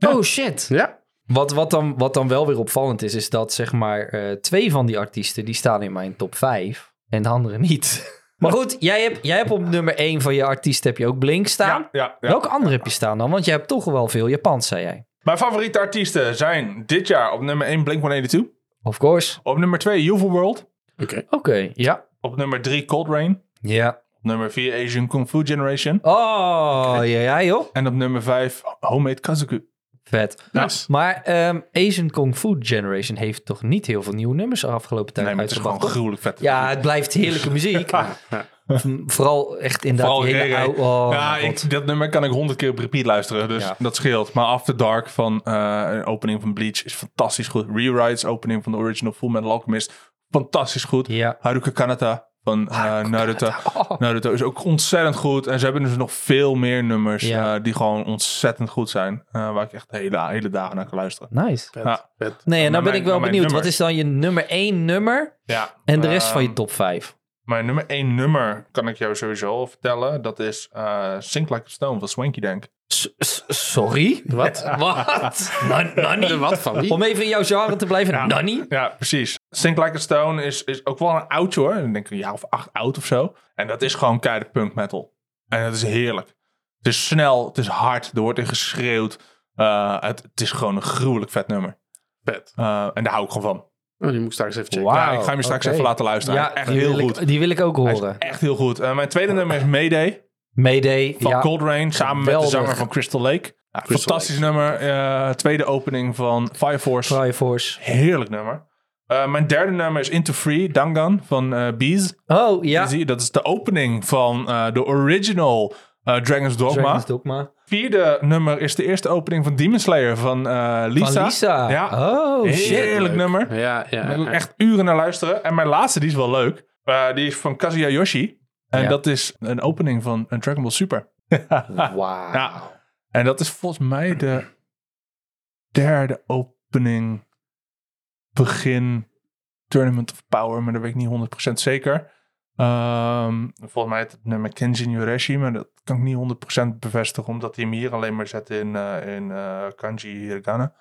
Speaker 2: oh shit.
Speaker 4: Ja.
Speaker 2: Wat, wat, dan, wat dan wel weer opvallend is, is dat zeg maar eh, twee van die artiesten die staan in mijn top 5 en de andere niet. Maar goed, jij hebt, jij hebt op nummer 1 van je artiest heb je ook Blink staan.
Speaker 3: Ja, ja, ja.
Speaker 2: Welke andere heb je staan dan? Want je hebt toch wel veel Japans, zei jij.
Speaker 3: Mijn favoriete artiesten zijn dit jaar op nummer 1 Blink-182.
Speaker 2: Of course.
Speaker 3: Op nummer 2 Youthful World.
Speaker 4: Oké.
Speaker 2: Oké, ja.
Speaker 3: Op nummer 3 Cold Rain.
Speaker 2: Ja.
Speaker 3: Op nummer 4 Asian Kung Fu Generation.
Speaker 2: Oh, ja, ja joh.
Speaker 3: En op nummer 5 Homemade Kazuku.
Speaker 2: Vet.
Speaker 4: Nice.
Speaker 2: Maar ehm, Asian Kung Fu Generation heeft toch niet heel veel nieuwe nummers de afgelopen tijd
Speaker 3: Nee, maar het is
Speaker 2: uitgebracht?
Speaker 3: gewoon gruwelijk vet.
Speaker 2: toch? ja, het blijft heerlijke muziek.
Speaker 4: Ja.
Speaker 2: Mm, Vooral echt inderdaad
Speaker 3: Vooral
Speaker 2: die hele
Speaker 3: reggae.
Speaker 2: oude... Oh,
Speaker 3: ja,
Speaker 2: mijn god.
Speaker 3: ik, dat nummer kan ik honderd keer op repeat luisteren, dus
Speaker 2: Ja.
Speaker 3: dat scheelt. Maar After Dark van eh, een opening van Bleach is fantastisch goed. Rewrites, opening van de original Full Metal Alchemist, fantastisch goed.
Speaker 2: Ja.
Speaker 3: Haruka Kanata van eh, Naruto.
Speaker 2: Oh.
Speaker 3: Naruto is ook ontzettend goed. En ze hebben dus nog veel meer nummers
Speaker 2: Ja.
Speaker 3: eh, die gewoon ontzettend goed zijn. eh, waar ik echt hele, hele dagen naar kan luisteren.
Speaker 2: Nice.
Speaker 4: Vet,
Speaker 3: Ja.
Speaker 4: vet.
Speaker 2: Nee, en dan
Speaker 3: Naar
Speaker 2: ben
Speaker 3: mijn-
Speaker 2: ik wel
Speaker 3: naar mijn
Speaker 2: benieuwd. Wat
Speaker 3: nummer.
Speaker 2: is dan je nummer 1 nummer
Speaker 3: Ja.
Speaker 2: en de rest van je
Speaker 3: Ehm,
Speaker 2: top 5?
Speaker 3: Mijn nummer één nummer kan ik jou sowieso al vertellen. Dat is eh Sink Like a Stone van Swanky Dank.
Speaker 2: Sorry?
Speaker 4: Wat?
Speaker 2: Wat? Nan-
Speaker 4: De
Speaker 2: Nanny?
Speaker 4: wat van wie?
Speaker 2: Om even in jouw genre te blijven. Nanny?
Speaker 3: Ja, precies. Sink Like a Stone is, is ook wel een oudje hoor. Ik denk een jaar of acht oud of zo. En dat is gewoon keiharde punk metal. En dat is heerlijk. Het is snel, het is hard, er wordt in geschreeuwd. Eh, het, het is gewoon een gruwelijk vet nummer.
Speaker 4: Vet.
Speaker 3: Eh, en daar hou ik gewoon van.
Speaker 4: Oh, die moet ik straks even checken.
Speaker 2: Wauw,
Speaker 3: Ja, ik ga hem je straks
Speaker 2: oké.
Speaker 3: even laten luisteren. Hij is echt
Speaker 2: die
Speaker 3: heel
Speaker 2: wil
Speaker 3: goed.
Speaker 2: Ik, die wil ik ook
Speaker 3: Hij is
Speaker 2: horen.
Speaker 3: echt heel goed. Eh, mijn tweede nummer is Mayday
Speaker 2: Mayday.
Speaker 3: van
Speaker 2: ja.
Speaker 3: Cold Rain. Samen met de
Speaker 2: Geweldig.
Speaker 3: zanger van Crystal Lake. Ja,
Speaker 4: Crystal
Speaker 3: fantastisch nummer. Eh, tweede opening van Fire Force.
Speaker 2: Fire Force.
Speaker 3: Heerlijk nummer. Eh, mijn derde nummer is Into Free, Dangan van eh Bees.
Speaker 2: Oh, ja.
Speaker 3: Zie je, dat is de opening van eh, de original eh, Dragon's Dogma.
Speaker 2: Dragon's Dogma.
Speaker 3: Vierde nummer is de eerste opening van Demon Slayer van eh, Lisa.
Speaker 2: Van Lisa.
Speaker 3: Ja.
Speaker 2: Oh, shit.
Speaker 3: Heerlijk nummer.
Speaker 4: Ja, ja, ja.
Speaker 3: Daar wil ik echt uren naar luisteren. En mijn laatste, die is wel leuk. Eh, die is van Kazuya Yoshi. En
Speaker 2: Ja.
Speaker 3: dat is een opening van een Dragon Ball Super.
Speaker 2: Wauw.
Speaker 3: Ja. En dat is volgens mij de derde opening begin Tournament of Power, maar dat weet ik niet 100% zeker. Ehm, volgens mij het nummer Kenjin Yoreshi, maar dat kan ik niet 100% bevestigen, omdat hij hem hier alleen maar zet in, eh, in eh, kanji hiragana.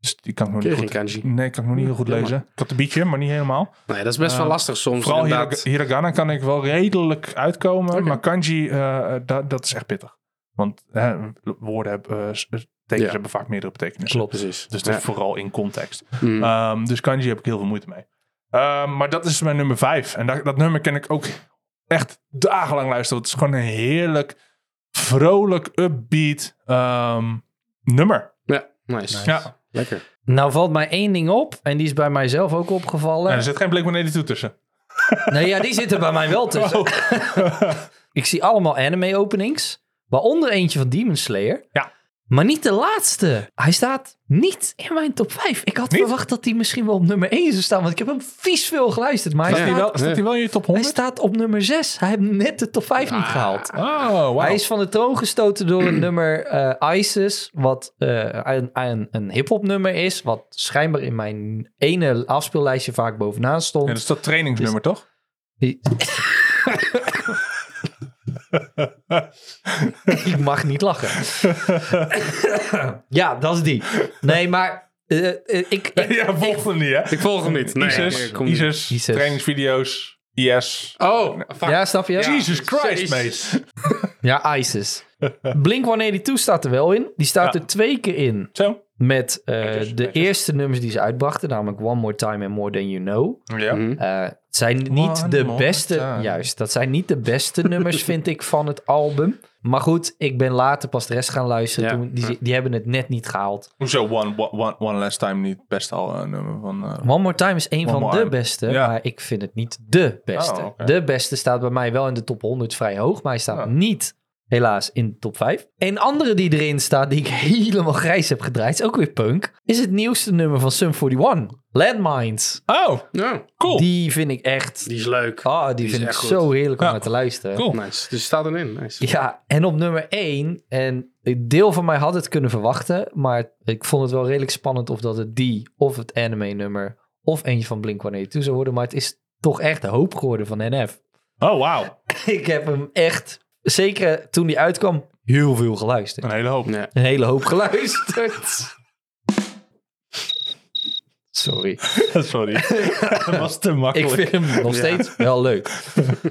Speaker 3: Dus die kan ik nog
Speaker 4: Ken
Speaker 3: niet
Speaker 4: je geen
Speaker 3: goed...
Speaker 4: kanji?
Speaker 3: Nee, kan ik nog niet heel goed
Speaker 4: Jammer.
Speaker 3: lezen. Ik had een beetje, maar niet helemaal.
Speaker 4: Nee, dat is best wel
Speaker 3: Eh,
Speaker 4: lastig soms.
Speaker 3: Vooral
Speaker 4: inderdaad.
Speaker 3: hiraga- hiragana kan ik wel redelijk uitkomen.
Speaker 4: Oké.
Speaker 3: Maar kanji, eh, eh, da- dat is echt pittig. Want hè, woorden hebben, eh, s- tekens
Speaker 4: Ja.
Speaker 3: hebben vaak meerdere betekenissen.
Speaker 2: Klopt.
Speaker 4: Precies.
Speaker 3: Dus dat
Speaker 4: Ja.
Speaker 3: is vooral in context.
Speaker 4: Mm.
Speaker 3: Ehm, dus kanji heb ik heel veel moeite mee. Ehm, maar dat is mijn nummer vijf. En dat, dat nummer ken ik ook echt dagenlang luisteren. Het is gewoon een heerlijk, vrolijk, upbeat ehm, nummer.
Speaker 4: ja, nice.
Speaker 3: Ja.
Speaker 4: Lekker.
Speaker 2: Nou valt mij één ding op. En die is bij mijzelf ook
Speaker 3: En
Speaker 2: opgevallen.
Speaker 3: er zit geen blik beneden toe tussen.
Speaker 2: Nee, ja, die zitten bij mij wel tussen.
Speaker 3: Oh.
Speaker 2: Ik zie allemaal anime openings. Waaronder eentje van Demon Slayer.
Speaker 3: Ja.
Speaker 2: Maar niet de laatste. Hij staat niet in mijn top 5. Ik had
Speaker 3: Niet?
Speaker 2: verwacht dat hij misschien wel op nummer 1 zou staan. Want ik heb hem vies veel geluisterd. Maar hij,
Speaker 4: Ja.
Speaker 3: Staat hij
Speaker 2: staat,
Speaker 3: wel, staat hij wel in je top
Speaker 2: hij
Speaker 3: 100?
Speaker 2: staat op nummer 6. Hij heeft net de top 5 niet gehaald.
Speaker 3: Oh, wow.
Speaker 2: Hij is van de troon gestoten door een nummer eh, Isis, wat eh, een, een, een hip-hop nummer is, wat schijnbaar in mijn ene afspeellijstje vaak bovenaan stond.
Speaker 3: Ja, dat is dat trainingsnummer, toch?
Speaker 2: Die- ik mag niet lachen. ja, dat is die. Nee, maar eh, eh, ik, ik-
Speaker 3: ja, volgt hem niet, hè?
Speaker 4: Ik volg hem niet. Nee,
Speaker 3: ISIS,
Speaker 4: ik kom niet.
Speaker 3: ISIS,
Speaker 2: ISIS.
Speaker 3: trainingsvideo's, IS.
Speaker 4: Oh, fuck.
Speaker 2: Ja, snap je?
Speaker 4: Ja.
Speaker 3: Jesus Christ,
Speaker 4: Jezus.
Speaker 3: mate.
Speaker 2: Ja, ISIS. Blink 182 staat er wel in. Die staat
Speaker 3: Ja.
Speaker 2: er twee keer in.
Speaker 3: Zo?
Speaker 2: Met eh,
Speaker 3: Netjes,
Speaker 2: de
Speaker 3: netjes.
Speaker 2: eerste nummers die ze uitbrachten, namelijk One More Time and More Than You Know.
Speaker 3: Ja.
Speaker 4: Mhm.
Speaker 2: Eh, het zijn niet
Speaker 3: One
Speaker 2: de
Speaker 3: more
Speaker 2: beste,
Speaker 3: time.
Speaker 2: juist, dat zijn niet de beste nummers, vind ik, van het album. Maar goed, ik ben later pas de rest gaan luisteren.
Speaker 4: Ja.
Speaker 2: Toen, die, die hebben het net niet gehaald.
Speaker 3: Hoezo One, one, one Last Time niet best al een nummer van... eh,
Speaker 2: One More Time is een
Speaker 3: One
Speaker 2: van
Speaker 3: More
Speaker 2: de
Speaker 3: Time.
Speaker 2: beste,
Speaker 3: Ja.
Speaker 2: maar ik vind het niet de beste.
Speaker 3: Oh, oké.
Speaker 2: De beste staat bij mij wel in de top 100 vrij hoog, maar hij staat
Speaker 3: Ja.
Speaker 2: niet, helaas, in de top 5. Een andere die erin staat, die ik helemaal grijs heb gedraaid, is ook weer punk, is het nieuwste nummer van Sum 41, Landmines.
Speaker 3: Oh,
Speaker 4: Ja,
Speaker 3: cool.
Speaker 2: Die vind ik echt...
Speaker 4: die is leuk.
Speaker 2: Ah, die,
Speaker 4: is
Speaker 2: vind ik
Speaker 4: echt goed.
Speaker 2: zo heerlijk om
Speaker 3: Ja.
Speaker 2: naar te luisteren.
Speaker 3: Cool.
Speaker 4: Nice. Dus die staat erin. Nice.
Speaker 2: Ja, en op nummer 1. En een deel van mij had het kunnen verwachten. Maar ik vond het wel redelijk spannend of dat het die of het anime nummer of eentje van Blink-182 zou worden. Maar het is toch echt de hoop geworden van NF.
Speaker 3: Oh, wauw.
Speaker 2: Ik heb hem echt, zeker toen die uitkwam, heel veel geluisterd.
Speaker 3: Een hele hoop.
Speaker 4: Ja.
Speaker 2: Een hele hoop geluisterd. Sorry.
Speaker 3: Sorry. dat was te
Speaker 2: Ik
Speaker 3: makkelijk.
Speaker 2: vind hem nog
Speaker 4: Ja.
Speaker 2: steeds wel leuk.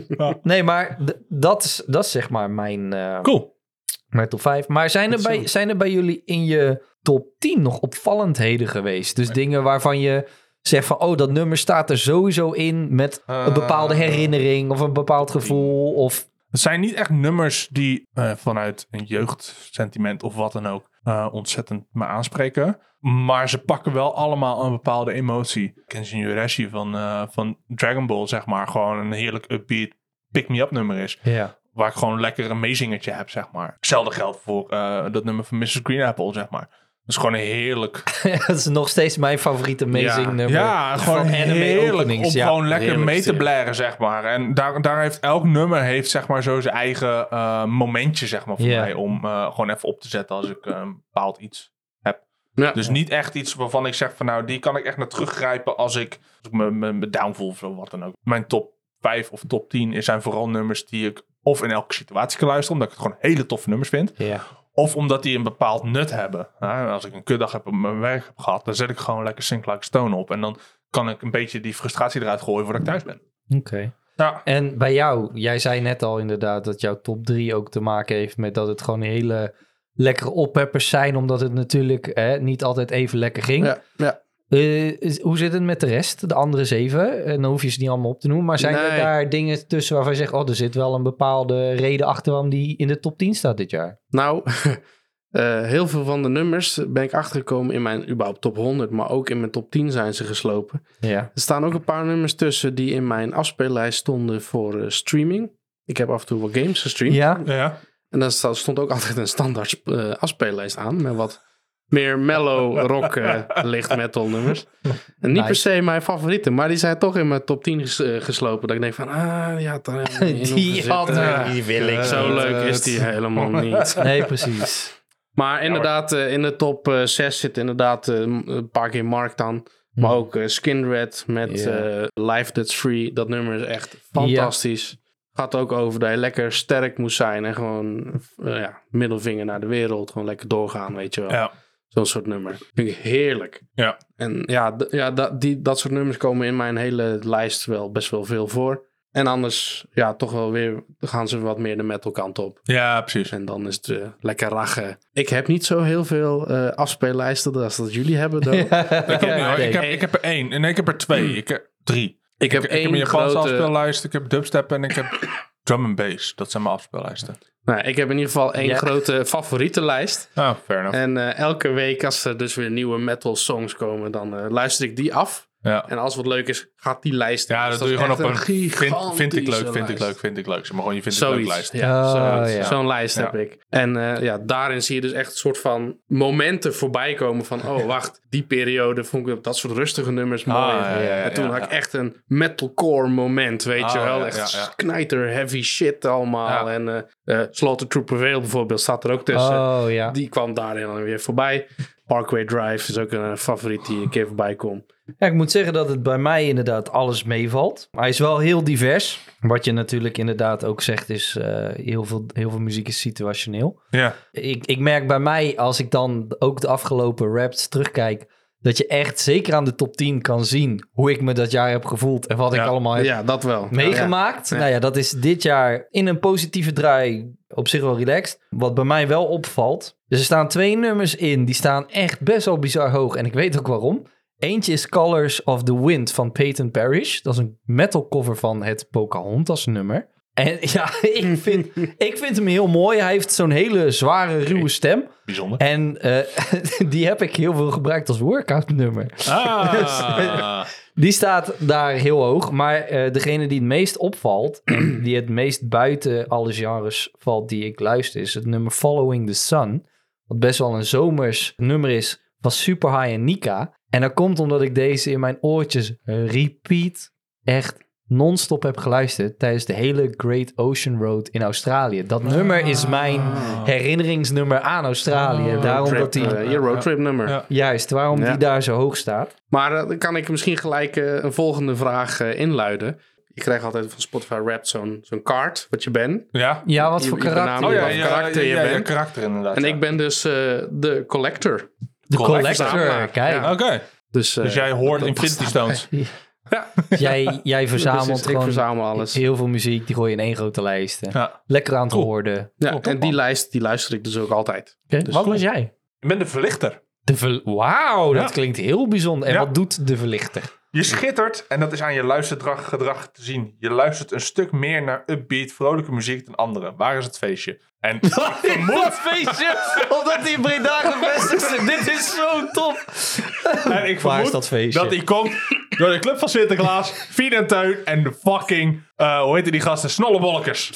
Speaker 3: Ja.
Speaker 2: Nee, maar d- dat is, dat is zeg maar mijn, eh,
Speaker 3: Cool.
Speaker 2: mijn top 5. Maar zijn er,
Speaker 3: Goed
Speaker 2: bij,
Speaker 3: zo.
Speaker 2: zijn er bij jullie in je top 10 nog opvallendheden geweest? Dus dingen waarvan je zegt van, oh, dat nummer staat er sowieso in met een
Speaker 3: Eh,
Speaker 2: bepaalde herinnering of een bepaald gevoel. Of
Speaker 3: Het zijn niet echt nummers die eh, vanuit een jeugdsentiment of wat dan ook eh, ontzettend me aanspreken. Maar ze pakken wel allemaal een bepaalde emotie. Kenshin Yoreshi van, eh, van Dragon Ball, zeg maar, gewoon een heerlijk upbeat pick-me-up nummer is.
Speaker 2: ja.
Speaker 3: Waar ik gewoon lekker een meezingertje heb, zeg maar. Hetzelfde geldt voor eh, dat nummer van Mrs. Green Apple, zeg maar. Dat is gewoon een heerlijk
Speaker 2: dat is nog steeds mijn favoriete amazing
Speaker 4: Ja.
Speaker 2: nummer.
Speaker 3: Ja,
Speaker 2: Van
Speaker 3: gewoon
Speaker 2: anime
Speaker 3: heerlijk om
Speaker 2: openings, ja.
Speaker 3: gewoon lekker
Speaker 4: Heerlijk,
Speaker 3: mee te
Speaker 4: zeer.
Speaker 3: blaren, zeg maar. En daar, daar heeft elk nummer heeft, zeg maar, zo zijn eigen eh, momentje, zeg maar, voor
Speaker 2: Ja.
Speaker 3: mij. Om eh, gewoon even op te zetten als ik eh, een bepaald iets heb.
Speaker 4: Ja.
Speaker 3: Dus niet echt iets waarvan ik zeg van, nou, die kan ik echt naar teruggrijpen als ik, als ik me, me, me downvoel of zo, wat dan ook. Mijn top 5 of top 10 zijn vooral nummers die ik of in elke situatie kan luisteren, omdat ik het gewoon hele toffe nummers vind.
Speaker 2: Ja.
Speaker 3: Of omdat die een bepaald nut hebben. Nou, als ik een kutdag heb op mijn werk heb gehad, dan zet ik gewoon lekker Sink Like a Stone op. En dan kan ik een beetje die frustratie eruit gooien voordat ik thuis ben.
Speaker 2: Oké.
Speaker 3: Ja,
Speaker 2: En bij jou, jij zei net al inderdaad dat jouw top 3 ook te maken heeft met dat het gewoon hele lekkere oppeppers zijn, omdat het natuurlijk hè, niet altijd even lekker ging.
Speaker 4: Ja, ja.
Speaker 2: Eh, is- hoe zit het met de rest, de andere zeven? En dan hoef je ze niet allemaal op te noemen, maar zijn er
Speaker 4: Nee.
Speaker 2: daar dingen tussen waarvan je zegt, oh, er zit wel een bepaalde reden achter waarom die in de top 10 staat dit jaar?
Speaker 4: Nou, eh, heel veel van de nummers ben ik achtergekomen in mijn überhaupt top 100, maar ook in mijn top 10 zijn ze geslopen.
Speaker 2: Ja.
Speaker 4: Er staan ook een paar nummers tussen die in mijn afspeellijst stonden voor eh, streaming. Ik heb af en toe wat games gestreamd.
Speaker 2: Ja?
Speaker 3: ja.
Speaker 4: En daar sta- stond ook altijd een standaard eh, afspeellijst aan. Met wat meer mellow rock, eh, licht metal nummers. En niet
Speaker 2: Nice.
Speaker 4: per se mijn favorieten, maar die zijn toch in mijn top 10 ges- eh, geslopen. Dat ik denk van, ah, ja, daar heb ik niet in hoeven
Speaker 2: Die
Speaker 4: zitten.
Speaker 2: had-
Speaker 4: Ja,
Speaker 2: die wil ik
Speaker 4: Zo
Speaker 2: niet.
Speaker 4: leuk is die helemaal niet.
Speaker 2: Nee, precies.
Speaker 4: Maar inderdaad, eh, in de top eh, 6 zit inderdaad eh, m- een paar keer Mark dan. Maar ook eh, Skin Red met
Speaker 2: Ja.
Speaker 4: eh, Life That's Free. Dat nummer is echt fantastisch. Gaat ook over dat je lekker sterk moet zijn. En gewoon eh, ja, middelvinger naar de wereld. Gewoon lekker doorgaan, weet je wel.
Speaker 3: ja.
Speaker 4: Zo'n soort nummer. Vind ik heerlijk.
Speaker 3: Ja.
Speaker 4: En ja, d- ja da- die, dat soort nummers komen in mijn hele lijst wel best wel veel voor. En anders, ja, toch wel weer gaan ze wat meer de metal kant op.
Speaker 3: Ja, precies.
Speaker 4: En dan is het eh, lekker rachen. Ik heb niet zo heel veel eh afspeellijsten als dat jullie hebben. though.
Speaker 3: Ik heb, nou,
Speaker 2: Nee.
Speaker 3: ik, heb, ik heb er één. Nee, ik heb er twee. Ik heb drie.
Speaker 4: Ik heb
Speaker 3: ik, heb
Speaker 4: één
Speaker 3: een Japanse
Speaker 4: grote...
Speaker 3: afspeellijst, ik heb dubstep en ik heb drum and bass. Dat zijn mijn afspeellijsten.
Speaker 4: Nou, ik heb in ieder geval één
Speaker 2: Ja.
Speaker 4: grote favoriete lijst.
Speaker 3: Ah, fair enough.
Speaker 4: En eh, elke week als er dus weer nieuwe metal songs komen, dan eh, luister ik die af.
Speaker 3: Ja.
Speaker 4: En als wat leuk is, gaat die lijst.
Speaker 3: Ja,
Speaker 4: Dus
Speaker 3: dat doe je gewoon
Speaker 4: is
Speaker 3: op een
Speaker 4: echt
Speaker 3: vind, vind ik leuk,
Speaker 4: gigantische
Speaker 3: vind ik
Speaker 4: lijst.
Speaker 3: leuk, vind ik leuk. Zeg maar gewoon je vind ik leuk
Speaker 4: Zoiets.
Speaker 3: lijst.
Speaker 4: Ja,
Speaker 2: Oh,
Speaker 4: zoiets.
Speaker 2: ja.
Speaker 4: Zo'n lijst
Speaker 3: Ja.
Speaker 4: heb ik. En eh, ja, daarin zie je dus echt een soort van momenten voorbij komen van... oh, wacht, die periode vond ik dat soort rustige nummers mooi.
Speaker 3: Ah, ja, ja, ja,
Speaker 4: en toen
Speaker 3: ja,
Speaker 4: had
Speaker 3: ja.
Speaker 4: ik echt een metalcore moment, weet
Speaker 3: Ah,
Speaker 4: je wel.
Speaker 3: ja,
Speaker 4: echt
Speaker 3: ja, ja.
Speaker 4: knijter heavy shit allemaal.
Speaker 3: Ja.
Speaker 4: En eh eh, Slaughter to Prevail bijvoorbeeld staat er ook tussen.
Speaker 2: Oh, ja.
Speaker 4: Die kwam daarin dan weer voorbij. Parkway Drive is ook een eh, favoriet die een keer voorbij komt.
Speaker 2: Ja, ik moet zeggen dat het bij mij inderdaad alles meevalt. Hij is wel heel divers. Wat je natuurlijk inderdaad ook zegt is, eh, heel, veel, heel veel muziek is situationeel.
Speaker 3: Ja.
Speaker 2: Ik, ik merk bij mij, als ik dan ook de afgelopen raps terugkijk, dat je echt zeker aan de top 10 kan zien hoe ik me dat jaar heb gevoeld en wat
Speaker 3: Ja.
Speaker 2: ik allemaal heb
Speaker 4: Ja, dat wel.
Speaker 2: meegemaakt.
Speaker 4: Ja.
Speaker 2: Nou ja, dat is dit jaar in een positieve draai op zich wel relaxed. Wat bij mij wel opvalt. Dus er staan twee nummers in, die staan echt best wel bizar hoog. En ik weet ook waarom. Eentje is Colors of the Wind van Peyton Parrish. Dat is een metal cover van het Pocahontas nummer. En ja, ik vind, ik vind hem heel mooi. Hij heeft zo'n hele zware, ruwe stem.
Speaker 3: Bijzonder.
Speaker 2: En eh, die heb ik heel veel gebruikt als workout nummer.
Speaker 3: Ah.
Speaker 2: Die staat daar heel hoog. Maar eh, degene die het meest opvalt, en die het meest buiten alle genres valt die ik luister, is het nummer Following the Sun. Wat best wel een zomers nummer is, van Super High en Nika. En dat komt omdat ik deze in mijn oortjes repeat echt non-stop heb geluisterd tijdens de hele Great Ocean Road in Australië. Dat
Speaker 4: Ah.
Speaker 2: nummer is mijn herinneringsnummer aan Australië. Daarom dat die...
Speaker 4: Trip, eh, je roadtrip nummer.
Speaker 3: Ja.
Speaker 2: Juist, waarom
Speaker 4: Ja.
Speaker 2: die daar zo hoog staat.
Speaker 4: Maar eh, dan kan ik misschien gelijk eh, een volgende vraag eh, inluiden. Ik krijg altijd van Spotify Wrapped zo'n zo'n kaart, wat je bent.
Speaker 3: Ja.
Speaker 2: Ja, wat
Speaker 4: Je-
Speaker 2: voor
Speaker 4: je benaamt
Speaker 2: karakter.
Speaker 3: Oh ja,
Speaker 4: Wat
Speaker 3: ja,
Speaker 4: karakter
Speaker 3: ja,
Speaker 4: je
Speaker 3: ja, ja,
Speaker 4: bent.
Speaker 3: karakter inderdaad.
Speaker 4: En
Speaker 3: ja.
Speaker 4: ik ben dus eh, de collector.
Speaker 2: De
Speaker 3: Collector.
Speaker 2: collector, kijk.
Speaker 4: Ja.
Speaker 3: Oké.
Speaker 4: Dus, eh,
Speaker 3: Dus jij hoort
Speaker 4: dat-
Speaker 3: Infinity Stones.
Speaker 2: Jij, jij verzamelt
Speaker 4: dat is Dus het.
Speaker 2: gewoon
Speaker 4: Ik verzamel alles.
Speaker 2: heel veel muziek. Die gooi je in één grote lijst. eh.
Speaker 3: Ja.
Speaker 2: Lekker aan te
Speaker 3: Cool.
Speaker 2: hoorden.
Speaker 4: Ja,
Speaker 3: Oh, top,
Speaker 4: en die
Speaker 3: man.
Speaker 4: lijst die luister ik dus ook altijd. Dus
Speaker 2: Wat
Speaker 4: cool.
Speaker 2: was jij?
Speaker 3: Je bent een verlichter.
Speaker 2: De ver- Wauw, dat
Speaker 3: Ja.
Speaker 2: klinkt heel bijzonder. En
Speaker 3: Ja.
Speaker 2: wat doet de verlichter?
Speaker 3: Je schittert, en dat is aan je luistergedrag te zien. Je luistert een stuk meer naar upbeat, vrolijke muziek dan anderen. Waar is het feestje? En ik vermoed,
Speaker 2: feestje, omdat die in Breda gevestigd is. Dit is zo top.
Speaker 3: en ik
Speaker 2: Waar is
Speaker 3: vermoed
Speaker 2: dat feestje?
Speaker 3: dat die komt door de club van Sinterklaas, Fien en Teun en de fucking, eh, hoe heette die gasten? Snollebolkers.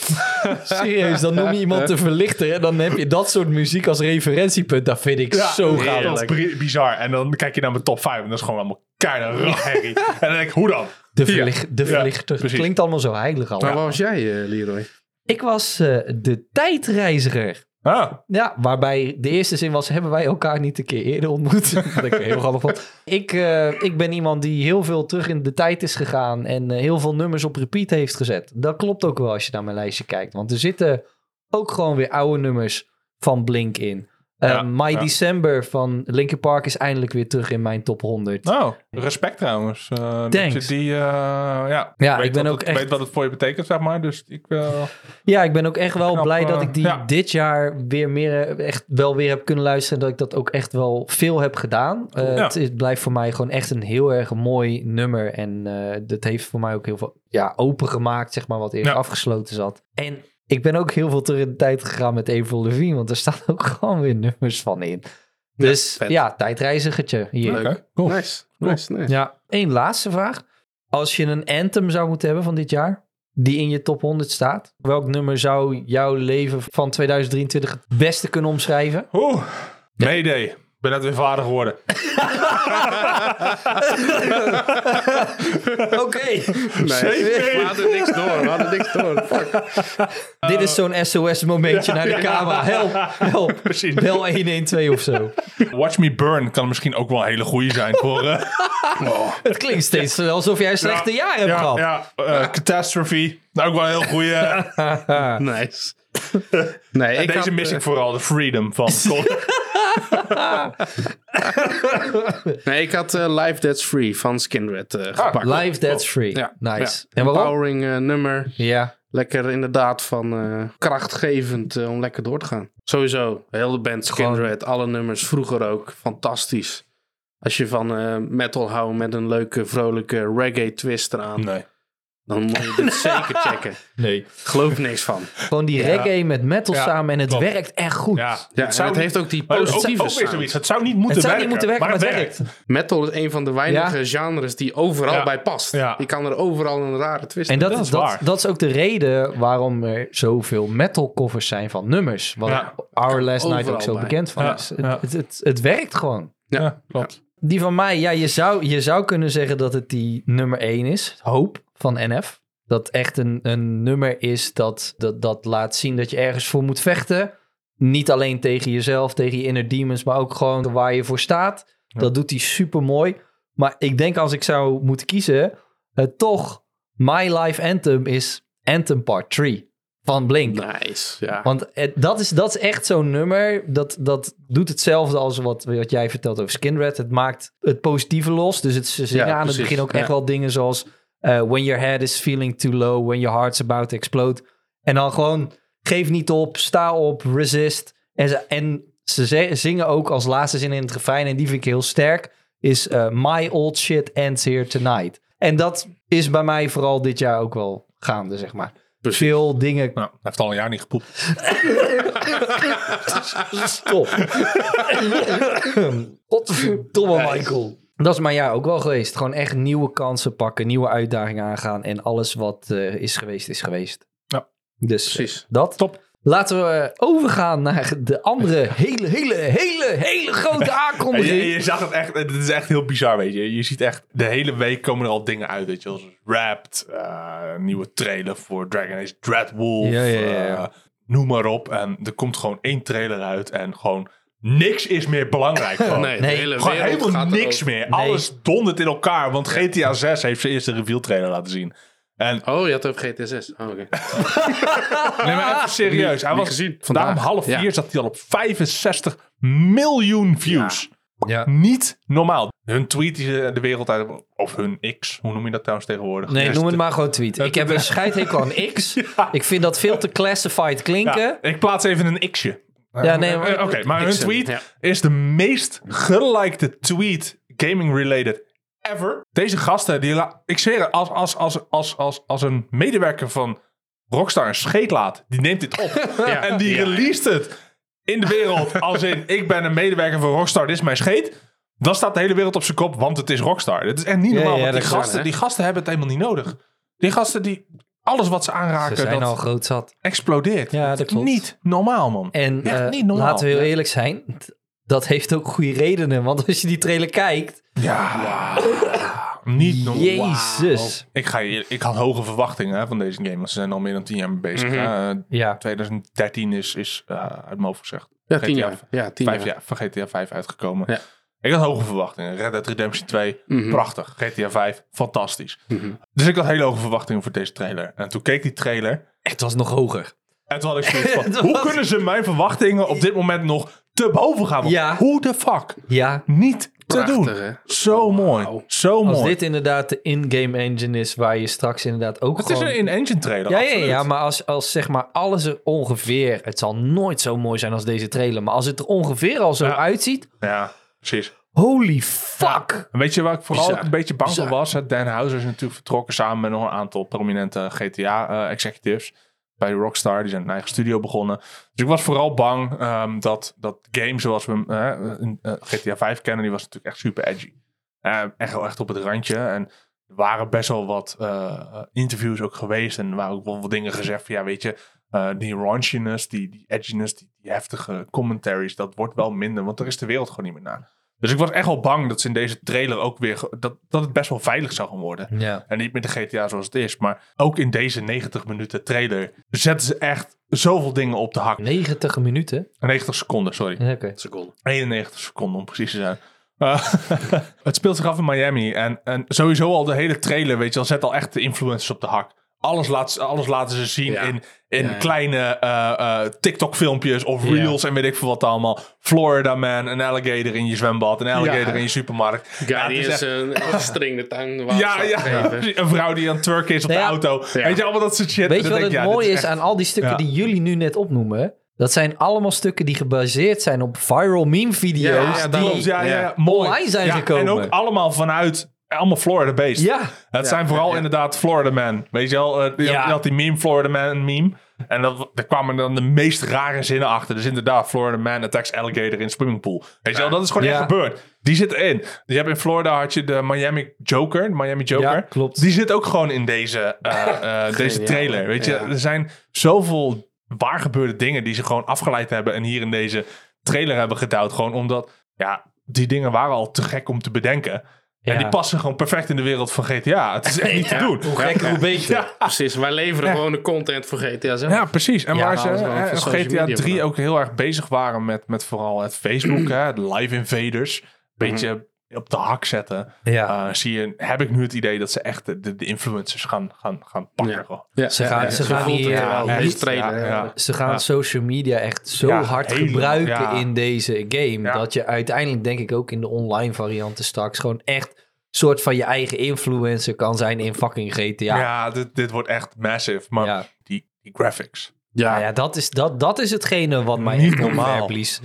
Speaker 2: Serieus, dan noem je iemand te verlichter en dan heb je dat soort muziek als referentiepunt. Dat vind ik zo gaaf.
Speaker 3: Dat is bri- bizar. En dan kijk je naar mijn top 5 en dat is gewoon allemaal keiharde rotherrie. en dan denk ik, hoe dan?
Speaker 2: De, verlicht, de
Speaker 3: Ja,
Speaker 2: verlichter.
Speaker 3: precies.
Speaker 2: klinkt allemaal zo heilig al.
Speaker 4: Maar waar was jij, eh, Leroy?
Speaker 2: Ik was eh, de tijdreiziger.
Speaker 3: Ah,
Speaker 2: Ja, waarbij de eerste zin was: hebben wij elkaar niet een keer eerder ontmoet? Wat ik heel grappig vond. Ik, eh, ik ben iemand die heel veel terug in de tijd is gegaan en eh, heel veel nummers op repeat heeft gezet. Dat klopt ook wel als je naar mijn lijstje kijkt, want er zitten ook gewoon weer oude nummers van Blink in. Eh,
Speaker 3: Ja,
Speaker 2: My
Speaker 3: ja.
Speaker 2: December van Linkin Park is eindelijk weer terug in mijn top 100.
Speaker 3: nou, respect trouwens. Eh, Dat
Speaker 2: Thanks.
Speaker 3: je die, eh, ja,
Speaker 2: Ja,
Speaker 3: weet
Speaker 2: ik ben
Speaker 3: wat
Speaker 2: ook
Speaker 3: het,
Speaker 2: echt-
Speaker 3: weet wat het voor je betekent, zeg maar. Dus ik eh,
Speaker 2: Ja, ik ben ook echt wel
Speaker 3: Knap,
Speaker 2: blij
Speaker 3: eh,
Speaker 2: dat ik die
Speaker 3: ja.
Speaker 2: dit jaar weer meer eh, echt wel weer heb kunnen luisteren. En dat ik dat ook echt wel veel heb gedaan. Eh,
Speaker 3: Ja.
Speaker 2: het, is- blijft voor mij gewoon echt een heel erg mooi nummer. En eh dat heeft voor mij ook heel veel ja, opengemaakt, zeg maar, wat eerst
Speaker 3: Ja.
Speaker 2: afgesloten zat. En ik ben ook heel veel terug in de tijd gegaan met Avril Levine. Want er staan ook gewoon weer nummers van in. Dus ja,
Speaker 4: vet.
Speaker 2: tijdreizigertje hier.
Speaker 4: Leuk.
Speaker 3: Oké, cool.
Speaker 4: Nice,
Speaker 3: Cool.
Speaker 4: nice, nice.
Speaker 2: Ja, één laatste vraag. Als je een anthem zou moeten hebben van dit jaar, die in je top 100 staat, welk nummer zou jouw leven van 2023 het beste kunnen omschrijven?
Speaker 3: Oeh, Mayday. Ik ben net weer vader geworden.
Speaker 2: Oké.
Speaker 4: We hadden niks door, we hadden niks door. Fuck.
Speaker 2: Dit is zo'n SOS-momentje naar de camera. Help, help.
Speaker 3: Precies.
Speaker 2: Bel 112 of zo.
Speaker 3: Watch Me Burn kan misschien ook wel een hele goeie zijn voor... eh,
Speaker 2: Het klinkt steeds alsof jij een slechte jaar hebt
Speaker 3: ja,
Speaker 2: gehad.
Speaker 3: Ja, eh, Catastrophe. Nou, ook wel een heel goeie. En
Speaker 4: Nice. Nee, ik
Speaker 3: deze
Speaker 4: had, eh,
Speaker 3: mis ik vooral, de freedom van...
Speaker 4: nee, ik had eh, Life That's Free van Skinred eh,
Speaker 3: Ah,
Speaker 4: gepakt.
Speaker 2: Live That's Free.
Speaker 4: Ja.
Speaker 2: Nice.
Speaker 4: Ja.
Speaker 2: En waarom?
Speaker 4: Empowering eh, nummer.
Speaker 2: Ja.
Speaker 4: Lekker inderdaad van eh, krachtgevend eh, om lekker door te gaan. Sowieso, heel de band
Speaker 2: Gewoon-
Speaker 4: Skinred, alle nummers vroeger ook, fantastisch. Als je van eh, metal houdt met een leuke, vrolijke reggae twist eraan,
Speaker 3: Nee.
Speaker 4: dan moet je dit zeker checken.
Speaker 2: Nee.
Speaker 4: Geloof niks van.
Speaker 2: Gewoon die reggae met metal
Speaker 3: Ja,
Speaker 2: samen en het
Speaker 3: klopt.
Speaker 2: werkt echt goed.
Speaker 3: Ja,
Speaker 4: Ja,
Speaker 3: het
Speaker 4: het,
Speaker 3: zou niet-
Speaker 4: heeft ook die
Speaker 3: Maar dat is ook,
Speaker 4: positieve
Speaker 3: ook weer
Speaker 4: sound.
Speaker 3: zoiets. Het zou niet moeten
Speaker 2: het zou
Speaker 3: werken.
Speaker 2: niet moeten werken, maar het werkt.
Speaker 4: Metal is een van de weinige genres die overal
Speaker 3: Ja.
Speaker 4: bij past.
Speaker 3: Ja.
Speaker 4: Je kan er overal een rare twist
Speaker 2: En dat,
Speaker 3: Dat
Speaker 2: is
Speaker 3: is
Speaker 2: dat,
Speaker 3: waar.
Speaker 2: dat is ook de reden waarom er zoveel metal covers zijn van nummers. Waar
Speaker 3: Ja.
Speaker 2: Our Last
Speaker 4: Overal
Speaker 2: Night ook zo
Speaker 4: bij.
Speaker 2: bekend van
Speaker 3: Ja,
Speaker 2: is.
Speaker 3: ja.
Speaker 2: Het, het, het, het werkt gewoon.
Speaker 3: Ja,
Speaker 4: Ja,
Speaker 3: klopt.
Speaker 2: Die van mij, ja, je zou, je zou kunnen zeggen dat het die nummer 1 is. Hoop van NF. Dat echt een, een nummer is dat, dat, dat laat zien dat je ergens voor moet vechten. Niet alleen tegen jezelf, tegen je inner demons, maar ook gewoon waar je voor staat. Dat doet hij super mooi. Maar ik denk als ik zou moeten kiezen, eh, toch My Life Anthem is Anthem Part 3 van Blink.
Speaker 4: Nice, ja.
Speaker 2: Want het- dat, is, dat is echt zo'n nummer. Dat, dat doet hetzelfde als wat, wat jij vertelt over Skinred. Het maakt het positieve los. Dus het, ze zingen
Speaker 4: Ja,
Speaker 2: aan het
Speaker 4: precies.
Speaker 2: begin ook
Speaker 4: Ja.
Speaker 2: echt wel dingen zoals... eh, when your head is feeling too low, when your heart's about to explode. En dan gewoon geef niet op, sta op, resist. En ze, en ze ze- zingen ook als laatste zin in het refrein... en die vind ik heel sterk, is eh, My old shit ends here tonight. En dat is bij mij vooral dit jaar ook wel gaande, zeg maar.
Speaker 4: Precies.
Speaker 2: Veel dingen
Speaker 3: Nou, hij heeft al een jaar niet gepoept.
Speaker 2: Stop. Godverdomme, Michael. Dat is mijn jaar ook wel geweest. Gewoon echt nieuwe kansen pakken, nieuwe uitdagingen aangaan. En alles wat eh, is geweest, is geweest.
Speaker 3: Ja.
Speaker 2: Dus eh,
Speaker 4: Precies.
Speaker 2: dat.
Speaker 3: Top.
Speaker 2: Laten we eh, overgaan naar de andere hele, hele, hele, hele grote
Speaker 3: En je,
Speaker 2: aankondiging.
Speaker 3: je zag het echt, het is echt heel bizar, weet je. Je ziet echt, de hele week komen er al dingen uit, weet je. Zoals Wrapped, eh, een nieuwe trailer voor Dragon Age Dreadwolf,
Speaker 2: Ja, ja, ja, ja.
Speaker 3: eh, noem maar op. En er komt gewoon één trailer uit en gewoon niks is meer belangrijk. Gewoon.
Speaker 4: Nee, de
Speaker 2: Nee,
Speaker 4: hele
Speaker 3: Gewoon
Speaker 4: wereld
Speaker 3: helemaal
Speaker 4: gaat
Speaker 3: niks
Speaker 4: erover.
Speaker 3: meer. Alles dondert in elkaar, want GTA 6 heeft zijn eerste reveal trailer laten zien. En
Speaker 4: Oh, je had het over GTSS. Oh, oké.
Speaker 3: Nee, maar even serieus. Hij
Speaker 4: Ah, niet
Speaker 3: was
Speaker 4: gezien.
Speaker 3: vandaag om
Speaker 4: Vandaag.
Speaker 3: half
Speaker 4: Ja.
Speaker 3: vier zat hij al op 65 miljoen views.
Speaker 2: Ja.
Speaker 3: Niet normaal. Hun tweet die ze de wereld uit hebben- Of hun X, hoe noem je dat trouwens tegenwoordig?
Speaker 2: Nee,
Speaker 3: Dus
Speaker 2: noem het
Speaker 3: de-
Speaker 2: maar gewoon tweet. Ik heb een scheidhekel aan X. Ik vind dat veel te classified klinken.
Speaker 3: Ja, ik plaats even een X'je.
Speaker 2: Ja, nee, maar-
Speaker 3: Oké, maar hun
Speaker 4: X'en,
Speaker 3: tweet
Speaker 4: ja.
Speaker 3: is de meest gelikte tweet gaming-related ever. Deze gasten, die la- ik zweer het, als, als, als, als, als, als een medewerker van Rockstar een scheet laat, die neemt dit op
Speaker 4: Ja.
Speaker 3: en die
Speaker 4: Ja.
Speaker 3: released het in de wereld als in ik ben een medewerker van Rockstar, dit is mijn scheet. Dan staat de hele wereld op zijn kop, want het is Rockstar. Het is echt niet
Speaker 2: Ja,
Speaker 3: normaal,
Speaker 2: ja,
Speaker 3: want die
Speaker 2: dat kan,
Speaker 3: gasten,
Speaker 4: hè?
Speaker 3: die gasten hebben het helemaal niet nodig. Die gasten die alles wat ze
Speaker 2: Ze
Speaker 3: aanraken,
Speaker 2: zijn
Speaker 3: dat
Speaker 2: al groot zat.
Speaker 3: explodeert.
Speaker 2: Ja,
Speaker 3: Het
Speaker 2: dat
Speaker 3: is
Speaker 2: klopt.
Speaker 3: Niet normaal, man.
Speaker 2: En
Speaker 3: Echt
Speaker 2: eh,
Speaker 3: niet normaal.
Speaker 2: laten we heel eerlijk zijn. t- Dat heeft ook goede redenen. Want als je die trailer kijkt.
Speaker 3: Ja. Niet normaal.
Speaker 2: Jezus.
Speaker 3: Ik, ga je, ik had hoge verwachtingen hè, van deze game. Want ze zijn al meer dan tien jaar mee bezig.
Speaker 4: Mhm.
Speaker 3: hè. Eh,
Speaker 2: Ja.
Speaker 3: 2013 is, is eh, uit mijn hoofd gezegd.
Speaker 4: Ja, tien
Speaker 3: GTA
Speaker 4: jaar. Ja, tien
Speaker 3: Vijf
Speaker 4: jaar.
Speaker 3: jaar, van GTA 5 uitgekomen.
Speaker 4: Ja.
Speaker 3: Ik had hoge verwachtingen. Red Dead Redemption 2,
Speaker 4: Mhm.
Speaker 3: prachtig. GTA 5, fantastisch.
Speaker 4: Mhm.
Speaker 3: Dus ik had hele hoge verwachtingen voor deze trailer. En toen keek die trailer.
Speaker 2: Het was nog hoger.
Speaker 3: En toen had ik zoiets van,
Speaker 2: Het
Speaker 3: hoe
Speaker 2: was-
Speaker 3: kunnen ze mijn verwachtingen op dit moment nog te boven gaan? Want
Speaker 2: Ja.
Speaker 3: Hoe de fuck?
Speaker 2: Ja.
Speaker 3: Niet te
Speaker 4: Prachtig,
Speaker 3: doen.
Speaker 4: hè? Oh,
Speaker 3: Zo mooi. Zo
Speaker 2: Als
Speaker 3: mooi.
Speaker 2: dit inderdaad de in-game engine is. Waar je straks inderdaad ook
Speaker 3: Het is
Speaker 2: gewoon...
Speaker 3: een in-engine trailer.
Speaker 2: ja, ja,
Speaker 3: absoluut.
Speaker 2: ja, maar als, als zeg maar alles er ongeveer... Het zal nooit zo mooi zijn als deze trailer. Maar als het er ongeveer al zo
Speaker 3: Ja.
Speaker 2: uitziet...
Speaker 3: Ja, precies.
Speaker 2: Holy fuck.
Speaker 3: En weet je waar ik vooral
Speaker 4: Bizar.
Speaker 3: een beetje bang voor
Speaker 4: Bizar.
Speaker 3: was? Hè? Dan Houser is natuurlijk vertrokken samen met nog een aantal prominente GTA-executives eh, bij Rockstar. Die zijn een eigen studio begonnen. Dus ik was vooral bang ehm, dat dat game zoals we hem, eh, in, eh, GTA 5 kennen, die was natuurlijk echt super edgy. Eh, echt wel echt op het randje. En er waren best wel wat eh, interviews ook geweest. En er waren ook wel wat dingen gezegd van, ja, weet je, eh, die raunchiness, die, die edginess, die, die heftige commentaries, dat wordt wel minder. Want er is de wereld gewoon niet meer naar. Dus ik was echt wel bang dat ze in deze trailer ook weer, ge- dat, dat het best wel veilig zou gaan worden.
Speaker 2: Ja.
Speaker 3: En niet met de GTA zoals het is. Maar ook in deze 90 minuten trailer zetten ze echt zoveel dingen op de hak.
Speaker 2: 90 minuten.
Speaker 3: 90 seconden, sorry.
Speaker 2: Oké.
Speaker 4: Seconde.
Speaker 3: 91 seconden om precies te zijn. Eh, het speelt zich af in Miami. En, en sowieso al de hele trailer, weet je wel, zet al echt de influencers op de hak. Alles, laat, ze- alles laten ze zien
Speaker 4: Ja.
Speaker 3: in, in
Speaker 4: Ja, ja.
Speaker 3: kleine eh, eh, TikTok-filmpjes of
Speaker 2: Ja.
Speaker 3: reels en weet ik veel wat allemaal. Florida Man, een alligator in je zwembad, een alligator in je supermarkt. Ja, het
Speaker 4: Guy die
Speaker 3: is
Speaker 4: is
Speaker 3: echt-
Speaker 4: een string de tuin.
Speaker 3: ja, ja, een vrouw die aan het twerken is op
Speaker 2: Nou
Speaker 3: de
Speaker 2: ja.
Speaker 3: auto. Weet je, allemaal dat soort shit.
Speaker 2: Weet je
Speaker 3: Dan
Speaker 2: wat het
Speaker 3: denk ja, dit
Speaker 2: mooie is,
Speaker 3: echt-
Speaker 2: aan al die stukken
Speaker 3: Ja.
Speaker 2: die jullie nu net opnoemen? Dat zijn allemaal stukken die gebaseerd zijn op viral meme video's.
Speaker 3: Ja, ja, daarom,
Speaker 2: die...
Speaker 3: ja, ja, ja,
Speaker 4: ja,
Speaker 3: mooi.
Speaker 2: online zijn gekomen.
Speaker 3: En ook allemaal vanuit, allemaal Florida-based.
Speaker 2: Ja.
Speaker 3: Het zijn vooral inderdaad Florida Man. Weet je wel, eh, je,
Speaker 2: Ja.
Speaker 3: je had die meme Florida Man meme. En dat, daar kwamen dan de meest rare zinnen achter. Dus inderdaad, Florida Man attacks alligator in swimmingpool. Weet je wel, dat is gewoon
Speaker 2: Ja.
Speaker 3: echt gebeurd. Die zit erin. Je hebt in Florida had je de Miami Joker. De Miami Joker.
Speaker 2: Ja, klopt.
Speaker 3: Die zit ook gewoon in deze, eh, eh, deze
Speaker 4: Geniaal.
Speaker 3: trailer. Weet je,
Speaker 4: Ja.
Speaker 3: er zijn zoveel waar gebeurde dingen die ze gewoon afgeleid hebben. En hier in deze trailer hebben gedouwd. Gewoon omdat, ja, die dingen waren al te gek om te bedenken. En
Speaker 2: Ja.
Speaker 3: die passen gewoon perfect in de wereld van GTA. Het is echt niet te doen.
Speaker 2: Hoe gekker, hoe beter.
Speaker 3: Ja.
Speaker 4: Precies, wij leveren gewoon de content voor GTA zelf.
Speaker 3: Ja, precies. En
Speaker 2: Ja,
Speaker 3: waar ze eh,
Speaker 4: dat is wel
Speaker 3: hè,
Speaker 4: van
Speaker 3: op
Speaker 4: social
Speaker 3: GTA
Speaker 4: media
Speaker 3: 3
Speaker 4: vandaan.
Speaker 3: ook heel erg bezig waren met, met vooral het Facebook, hè, de live invaders. Beetje op de hak zetten.
Speaker 2: Mhm. Ja.
Speaker 3: Eh, zie je, heb ik nu het idee dat ze echt de, de, de influencers gaan, gaan, gaan pakken. gewoon.
Speaker 4: Ja,
Speaker 2: Ze gaan- ze gaan
Speaker 4: voelt
Speaker 2: hier,
Speaker 4: het
Speaker 2: ja,
Speaker 4: wel,
Speaker 3: echt,
Speaker 4: deze trailer.
Speaker 3: eh, ja,
Speaker 4: hè.
Speaker 3: ja.
Speaker 2: Ze gaan
Speaker 3: Ja.
Speaker 2: social media echt zo
Speaker 3: Ja,
Speaker 2: hard
Speaker 3: helemaal,
Speaker 2: gebruiken
Speaker 3: ja.
Speaker 2: in deze game.
Speaker 3: Ja.
Speaker 2: Dat je uiteindelijk, denk ik, ook in de online varianten straks gewoon echt soort van je eigen influencer kan zijn in fucking GTA.
Speaker 3: Ja,
Speaker 2: Ja,
Speaker 3: dit, dit wordt echt massive. Maar
Speaker 2: Ja.
Speaker 3: die, die graphics.
Speaker 2: Nou ja dat, is, dat, dat is hetgene wat mij
Speaker 3: Niet
Speaker 2: echt
Speaker 3: normaal.
Speaker 2: normaal blies.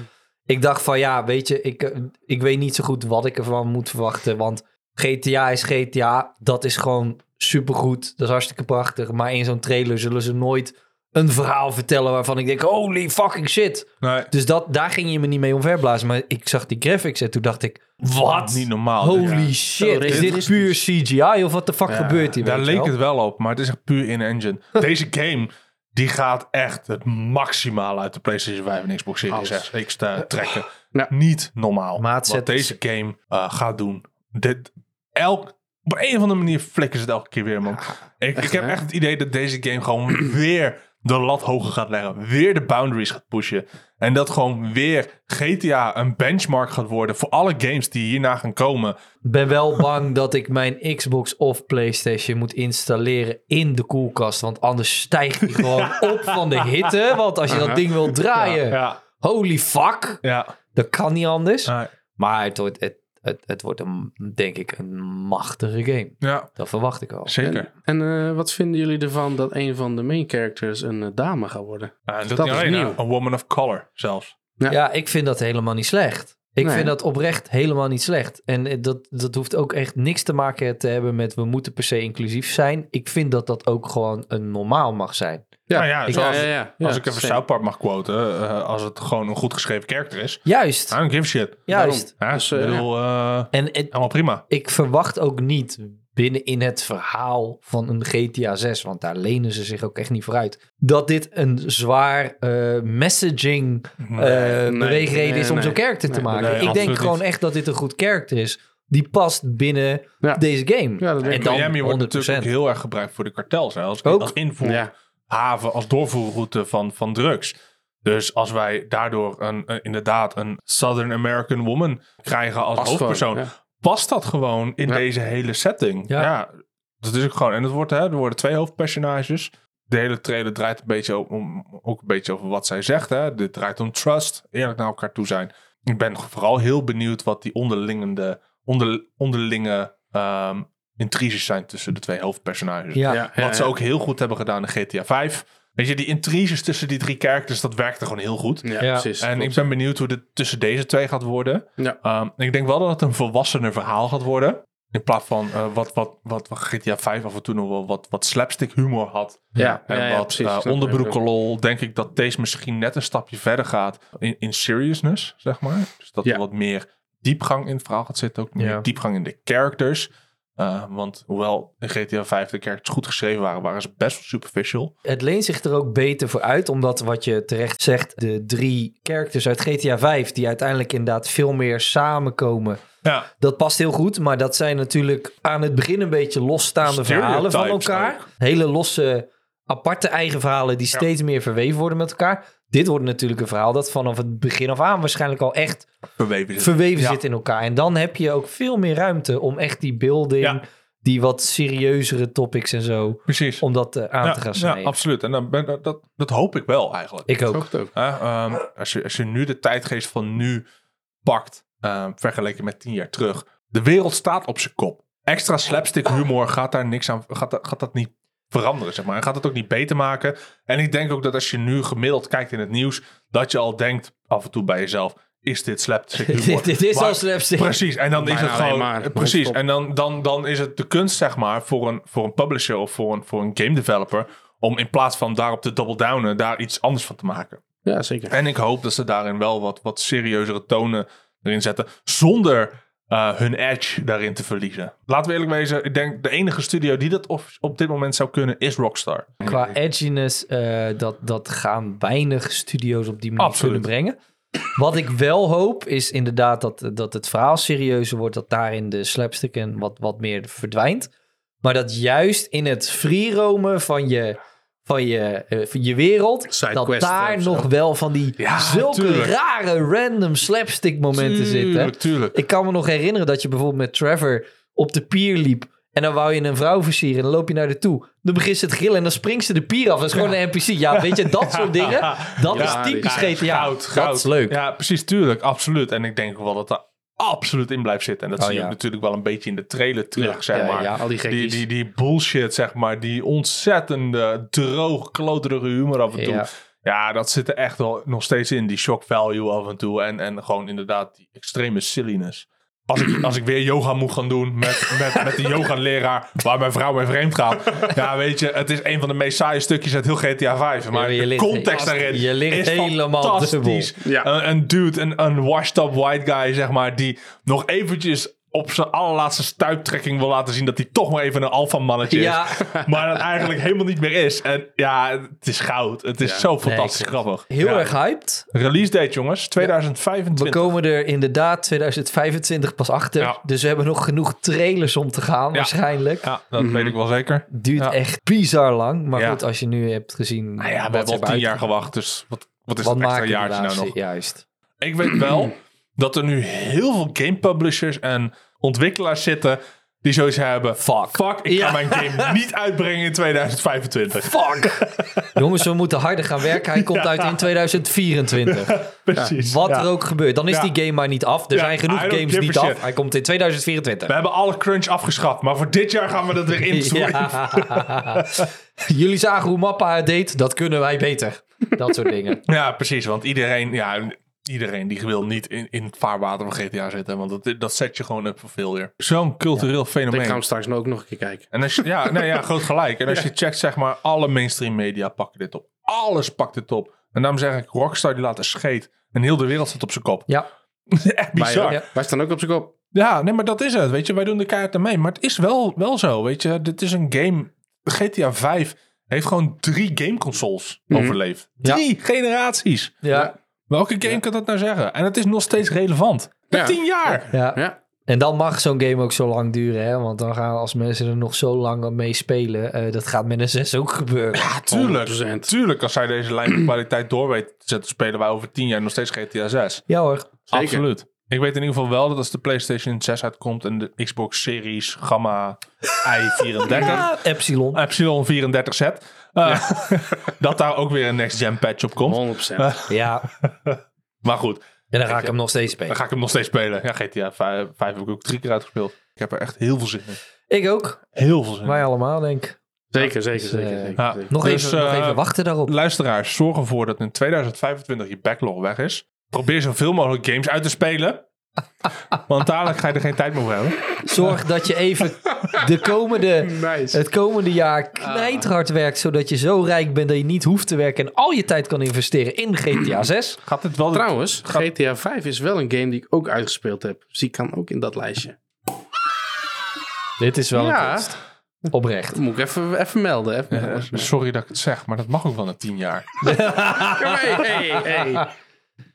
Speaker 2: Ik dacht van ja, weet je, ik, eh, ik weet niet zo goed wat ik ervan moet verwachten. Want GTA is GTA. Dat is gewoon supergoed. Dat is hartstikke prachtig. Maar in zo'n trailer zullen ze nooit een verhaal vertellen waarvan ik denk: holy fucking shit.
Speaker 3: Nee,
Speaker 2: Dus dat, daar ging je me niet mee omverblazen. Maar ik zag die graphics en toen dacht ik... Wat?
Speaker 3: Niet normaal.
Speaker 2: Holy
Speaker 3: Ja.
Speaker 2: shit, is dit
Speaker 4: realistisch.
Speaker 2: puur CGI of wat de fuck gebeurt hier?
Speaker 3: Daar
Speaker 2: weet je
Speaker 3: leek
Speaker 2: wel?
Speaker 3: het wel op, maar het is echt puur in-engine. Deze game, die gaat echt het maximaal uit de PlayStation 5 en Xbox Series
Speaker 4: Alles.
Speaker 3: X, X te trekken.
Speaker 4: Ja.
Speaker 3: Niet normaal.
Speaker 2: Maar het
Speaker 3: wat
Speaker 2: zet-
Speaker 3: deze game eh, gaat doen. Dit, elk, op een of andere manier flikken ze het elke keer weer, man. ik, ik heb
Speaker 4: hè?
Speaker 3: echt het idee dat deze game gewoon weer de lat hoger gaat leggen. Weer de boundaries gaat pushen. En dat gewoon weer GTA een benchmark gaat worden voor alle games die hierna gaan komen.
Speaker 2: Ik ben wel bang dat ik mijn Xbox of Playstation moet installeren in de koelkast. Want anders stijgt die gewoon op van de hitte. Want als je dat ding wil draaien,
Speaker 3: Uh-huh. Ja,
Speaker 2: holy fuck,
Speaker 3: ja.
Speaker 2: dat kan niet anders.
Speaker 3: ja.
Speaker 2: Maar het wordt, het, het, het wordt een, denk ik een machtige game.
Speaker 3: Ja,
Speaker 2: Dat verwacht ik al.
Speaker 3: zeker.
Speaker 4: En eh, wat vinden jullie ervan dat een van de main characters een eh, dame gaat worden?
Speaker 3: Eh, dat
Speaker 4: dat
Speaker 3: niet
Speaker 4: is
Speaker 3: alleen, hè.
Speaker 4: nieuw.
Speaker 3: Een woman of color zelfs.
Speaker 4: Ja.
Speaker 2: Ja, ik vind dat helemaal niet slecht. Ik
Speaker 4: Nee.
Speaker 2: vind dat oprecht helemaal niet slecht. En eh, dat, dat hoeft ook echt niks te maken te hebben met we moeten per se inclusief zijn. Ik vind dat dat ook gewoon een normaal mag zijn.
Speaker 4: Ja,
Speaker 3: Nou ja, zoals-
Speaker 4: ja.
Speaker 3: Als ik even South Park mag quoten, eh, als het gewoon een goed geschreven karakter is. I
Speaker 2: Juist,
Speaker 3: don't give a shit.
Speaker 2: juist.
Speaker 3: Ja,
Speaker 4: Dus,
Speaker 3: dus,
Speaker 4: eh,
Speaker 3: bedoel, eh,
Speaker 2: En het-
Speaker 3: helemaal prima.
Speaker 2: ik verwacht ook niet binnenin het verhaal van een GTA 6, want daar lenen ze zich ook echt niet voor uit, dat dit een zwaar eh, messaging eh beweegreden
Speaker 4: nee,
Speaker 2: is om
Speaker 4: nee.
Speaker 2: zo'n karakter te
Speaker 4: Nee,
Speaker 2: maken.
Speaker 3: nee,
Speaker 2: ik denk
Speaker 3: absoluut
Speaker 2: gewoon
Speaker 3: niet.
Speaker 2: echt dat dit een goed karakter is. Die past binnen
Speaker 4: Ja.
Speaker 2: deze game.
Speaker 4: Ja, dat denk
Speaker 2: en
Speaker 4: ik.
Speaker 2: dan
Speaker 3: Miami wordt
Speaker 2: 100%.
Speaker 3: natuurlijk ook heel erg gebruikt voor de kartels. Hè? Als,
Speaker 2: Ook.
Speaker 3: als
Speaker 4: Ja.
Speaker 3: invoerhaven, als doorvoerroute van, van drugs. Dus als wij daardoor een, eh, inderdaad een Southern American woman krijgen als
Speaker 4: Past
Speaker 3: hoofdpersoon,
Speaker 4: gewoon, ja.
Speaker 3: past dat gewoon in
Speaker 4: Ja.
Speaker 3: deze hele setting.
Speaker 2: Ja.
Speaker 3: Ja. dat is ook gewoon. En het wordt, hè, er worden twee hoofdpersonages. De hele trailer draait een beetje om, om- ook een beetje over wat zij zegt. Hè. Dit draait om trust, eerlijk naar elkaar toe zijn. Ik ben vooral heel benieuwd wat die onderlingende, onder, onderlinge ehm intriges zijn tussen de twee hoofdpersonages.
Speaker 2: Ja.
Speaker 4: Ja, ja,
Speaker 3: Wat ze
Speaker 4: ja.
Speaker 3: ook heel goed hebben gedaan in GTA 5. Weet je, die intriges tussen die drie characters, dat werkte gewoon heel goed.
Speaker 4: Ja,
Speaker 2: Ja.
Speaker 4: precies.
Speaker 3: En ik
Speaker 4: klopt.
Speaker 3: ben benieuwd hoe dit tussen deze twee gaat worden.
Speaker 4: Ja.
Speaker 3: Ehm, ik denk wel dat het een volwassener verhaal gaat worden. In plaats van eh, wat, wat, wat, wat GTA 5 af en toe nog wel wat, wat slapstick humor had.
Speaker 4: ja,
Speaker 3: En
Speaker 4: ja, ja,
Speaker 3: wat
Speaker 4: precies.
Speaker 3: eh,
Speaker 4: Snap ik.
Speaker 3: onderbroekenlol. Denk ik dat deze misschien net een stapje verder gaat in, in seriousness, zeg maar. Dus dat
Speaker 4: Ja.
Speaker 3: er wat meer diepgang in het verhaal gaat zitten. Ook meer
Speaker 2: Ja.
Speaker 3: diepgang in de characters. Eh, want hoewel in GTA 5 de characters goed geschreven waren, waren ze best wel superficial.
Speaker 2: Het leent zich er ook beter voor uit, omdat wat je terecht zegt, de drie characters uit GTA 5, die uiteindelijk inderdaad veel meer samenkomen,
Speaker 3: Ja,
Speaker 2: dat past heel goed. Maar dat zijn natuurlijk aan het begin een beetje losstaande verhalen van
Speaker 3: Stereotypes
Speaker 2: elkaar.
Speaker 3: ook.
Speaker 2: Hele losse, aparte eigen verhalen die
Speaker 3: Ja.
Speaker 2: steeds meer verweven worden met elkaar. Dit wordt natuurlijk een verhaal dat vanaf het begin af aan waarschijnlijk al echt
Speaker 3: verweven zit.
Speaker 2: verweven
Speaker 3: Ja.
Speaker 2: zit in elkaar. En dan heb je ook veel meer ruimte om echt die building,
Speaker 3: Ja.
Speaker 2: die wat serieuzere topics en zo,
Speaker 3: Precies.
Speaker 2: om dat eh, aan
Speaker 3: ja,
Speaker 2: te gaan
Speaker 3: ja,
Speaker 2: snijden.
Speaker 3: absoluut. En dan ben, dat, dat, dat hoop ik wel eigenlijk.
Speaker 2: ik ook.
Speaker 4: Klopt ook.
Speaker 3: Hè, ehm, als, je, als je nu de tijdgeest van nu pakt, ehm, vergeleken met tien jaar terug. De wereld staat op zijn kop. Extra slapstick humor gaat daar niks aan, gaat, dat- gaat dat niet veranderen, zeg maar. En gaat het ook niet beter maken. En ik denk ook dat als je nu gemiddeld kijkt in het nieuws, dat je al denkt af en toe bij jezelf, is dit slapstick humor?
Speaker 2: dit, dit is
Speaker 3: Maar-
Speaker 2: al slapstick.
Speaker 3: Precies, en dan is
Speaker 4: Bijna
Speaker 3: het gewoon.
Speaker 4: alleen maar.
Speaker 3: precies,
Speaker 4: Top.
Speaker 3: en dan, dan, dan is het de kunst, zeg maar, voor een, voor een publisher of voor een, voor een game developer. om in plaats van daarop te double downen, daar iets anders van te maken.
Speaker 4: Ja, zeker.
Speaker 3: En ik hoop dat ze daarin wel wat, wat serieuzere tonen erin zetten. zonder eh, hun edge daarin te verliezen. Laten we eerlijk wezen, ik denk de enige studio die dat op, op dit moment zou kunnen is Rockstar.
Speaker 2: Qua edginess, eh, dat, dat gaan weinig studio's op die manier
Speaker 3: Absoluut.
Speaker 2: kunnen brengen. Wat ik wel hoop, is inderdaad dat, dat het verhaal serieuzer wordt. Dat daarin de slapstick en wat, wat meer verdwijnt. Maar dat juist in het freeromen van je, van je, eh, van je wereld... dat
Speaker 4: Sidequest
Speaker 2: daar
Speaker 4: of zo.
Speaker 2: nog wel van die
Speaker 3: Ja,
Speaker 2: zulke
Speaker 3: tuurlijk.
Speaker 2: rare random slapstick momenten zitten.
Speaker 3: tuurlijk.
Speaker 2: Ik kan me nog herinneren dat je bijvoorbeeld met Trevor op de pier liep. En dan wou je een vrouw versieren. En dan loop je naar de toe. Dan begint ze te grillen en dan springt ze de pier af. Dat is gewoon een NPC. Ja, weet je, dat soort dingen. Dat
Speaker 4: Ja,
Speaker 2: is typisch
Speaker 4: die-
Speaker 2: GTA.
Speaker 3: Goud, goud.
Speaker 2: Dat is leuk.
Speaker 3: Ja, precies, tuurlijk, absoluut. En ik denk wel dat daar absoluut in blijft zitten. En dat
Speaker 2: Oh,
Speaker 3: zie je
Speaker 2: ja.
Speaker 3: ook natuurlijk wel een beetje in de trailer terug,
Speaker 4: Ja,
Speaker 3: zeg
Speaker 2: ja,
Speaker 3: maar.
Speaker 2: ja.
Speaker 4: Al die
Speaker 3: Die,
Speaker 4: gekkies.
Speaker 3: die, die bullshit, zeg maar. Die ontzettende droog, kloterige humor af en toe.
Speaker 2: Ja.
Speaker 3: Ja, dat zit er echt wel nog steeds in. Die shock value af en toe. En, en gewoon inderdaad die extreme silliness. Als ik, als ik weer yoga moet gaan doen met, met, met de yoga-leraar waar mijn vrouw mee vreemd gaat. Ja, weet je, het is een van de meest saaie stukjes uit heel GTA 5.
Speaker 2: Ja,
Speaker 3: Maar
Speaker 2: maar je
Speaker 3: de
Speaker 2: ligt-
Speaker 3: context
Speaker 2: je
Speaker 3: daarin
Speaker 2: ligt
Speaker 3: is
Speaker 2: helemaal
Speaker 3: fantastisch.
Speaker 4: dubbel. Ja.
Speaker 3: Een, een dude, een, een washed-up white guy, zeg maar, die nog eventjes op zijn allerlaatste stuiptrekking wil laten zien dat hij toch maar even een alfamannetje
Speaker 2: Ja.
Speaker 3: is. Maar dat eigenlijk helemaal niet meer is. En ja, het is goud. Het is zo fantastisch
Speaker 2: klopt.
Speaker 3: grappig.
Speaker 2: Heel
Speaker 3: Ja.
Speaker 2: erg hyped.
Speaker 3: Release date, jongens.
Speaker 2: We
Speaker 3: 2025.
Speaker 2: komen er inderdaad 2025 pas achter.
Speaker 3: Ja.
Speaker 2: Dus we hebben nog genoeg trailers om te gaan
Speaker 3: Ja.
Speaker 2: waarschijnlijk.
Speaker 3: Ja, dat weet ik wel zeker.
Speaker 2: Duurt
Speaker 3: Ja.
Speaker 2: echt bizar lang. Maar
Speaker 3: Ja.
Speaker 2: goed, als je nu hebt gezien...
Speaker 3: Nou ja,
Speaker 2: wat
Speaker 3: we hebben
Speaker 2: ze
Speaker 3: al tien
Speaker 2: hebben
Speaker 3: jaar gewacht. Dus wat, wat is
Speaker 2: Wat
Speaker 3: dat extra
Speaker 2: maakt het
Speaker 3: jaartje nou nog?
Speaker 2: nou Juist.
Speaker 3: Ik weet wel dat er nu heel veel game publishers en ontwikkelaars zitten Die sowieso hebben,
Speaker 2: Fuck.
Speaker 3: fuck, ik
Speaker 2: Ja.
Speaker 3: ga mijn game niet uitbrengen in 2025.
Speaker 2: Fuck! Jongens, we moeten harder gaan werken. Hij komt uit in 2024.
Speaker 3: Precies.
Speaker 2: Wat
Speaker 3: Ja.
Speaker 2: er ook gebeurt. Dan is
Speaker 3: Ja.
Speaker 2: die game maar niet af. Er
Speaker 3: Ja,
Speaker 2: zijn genoeg
Speaker 3: I don't
Speaker 2: games
Speaker 3: give
Speaker 2: niet
Speaker 3: a
Speaker 2: af.
Speaker 3: shit.
Speaker 2: Hij komt in 2024.
Speaker 3: We hebben alle crunch afgeschaft, maar voor dit jaar gaan we dat weer in. sorry.
Speaker 2: Ja. Jullie zagen hoe Mappa het deed. Dat kunnen wij beter. Dat soort dingen.
Speaker 3: Ja, precies. Want iedereen, ja, iedereen die wil niet in, in het vaarwater van GTA zitten. Want dat, dat zet je gewoon up voor failure. Zo'n cultureel
Speaker 4: Ik
Speaker 3: fenomeen.
Speaker 4: ga hem straks ook nog een keer kijken.
Speaker 3: En als je, ja, nee, ja, groot gelijk. En als je checkt, zeg maar, alle mainstream media pakken dit op. Alles pakt dit op. En daarom zeg ik, Rockstar die laat een scheet. En heel de wereld zit op zijn kop.
Speaker 2: Ja.
Speaker 3: Echt bizar.
Speaker 4: Wij, wij staan ook op zijn kop.
Speaker 3: Ja, nee, maar dat is het. Weet je, wij doen de kaart mee. Maar het is wel, wel zo. Weet je, dit is een game. GTA 5 heeft gewoon drie gameconsoles overleefd.
Speaker 2: Mhm. Ja.
Speaker 3: Drie generaties.
Speaker 2: Ja.
Speaker 3: Welke game kan dat nou zeggen? En het is nog steeds relevant. Na
Speaker 4: Ja.
Speaker 3: tien jaar.
Speaker 2: ja.
Speaker 4: Ja.
Speaker 2: En dan mag zo'n game ook zo lang duren. Hè? Want dan gaan als mensen er nog zo lang aan mee spelen. eh, dat gaat met een 6 ook gebeuren.
Speaker 3: Ja, tuurlijk.
Speaker 4: 100%.
Speaker 3: Tuurlijk, als zij deze lijn van kwaliteit door weet te zetten, spelen wij over tien jaar nog steeds GTA 6.
Speaker 2: Ja hoor.
Speaker 4: Zeker.
Speaker 3: Absoluut. Ik weet in ieder geval wel dat als de PlayStation 6 uitkomt en de Xbox Series Gamma i34
Speaker 2: Epsilon.
Speaker 3: Epsilon 34 Z, eh, dat daar ook weer een next-gen patch op komt.
Speaker 4: 100%.
Speaker 2: Ja.
Speaker 3: Maar goed,
Speaker 2: En dan ga ik hem nog steeds spelen.
Speaker 3: dan ga ik hem nog steeds spelen. Ja, GTA 5, heb ik ook drie keer uitgespeeld. Ik heb er echt heel veel zin in.
Speaker 2: Ik ook.
Speaker 3: Heel veel zin in.
Speaker 2: Wij allemaal, denk ik.
Speaker 4: Zeker, zeker,
Speaker 2: eh,
Speaker 4: zeker. zeker,
Speaker 3: ja.
Speaker 4: zeker.
Speaker 2: Nog,
Speaker 3: Dus,
Speaker 2: even, nog
Speaker 3: eh,
Speaker 2: even wachten daarop.
Speaker 3: Luisteraars, zorg ervoor dat in 2025 je backlog weg is. Probeer zoveel mogelijk games uit te spelen. Want dadelijk ga je er geen tijd meer voor hebben.
Speaker 2: Zorg dat je even de komende,
Speaker 4: Nice.
Speaker 2: het komende jaar knijterhard werkt. Zodat je zo rijk bent dat je niet hoeft te werken. En al je tijd kan investeren in GTA 6.
Speaker 3: Gaat dit wel...
Speaker 4: Trouwens, GTA 5 is wel een game die ik ook uitgespeeld heb. Dus die kan ook in dat lijstje.
Speaker 2: Dit is wel een
Speaker 4: ja,
Speaker 2: kunst. Oprecht.
Speaker 4: dat moet ik even, even melden. Even melden.
Speaker 3: Eh, sorry dat ik het zeg, maar dat mag ook wel na tien jaar.
Speaker 4: Hey, hey, hey.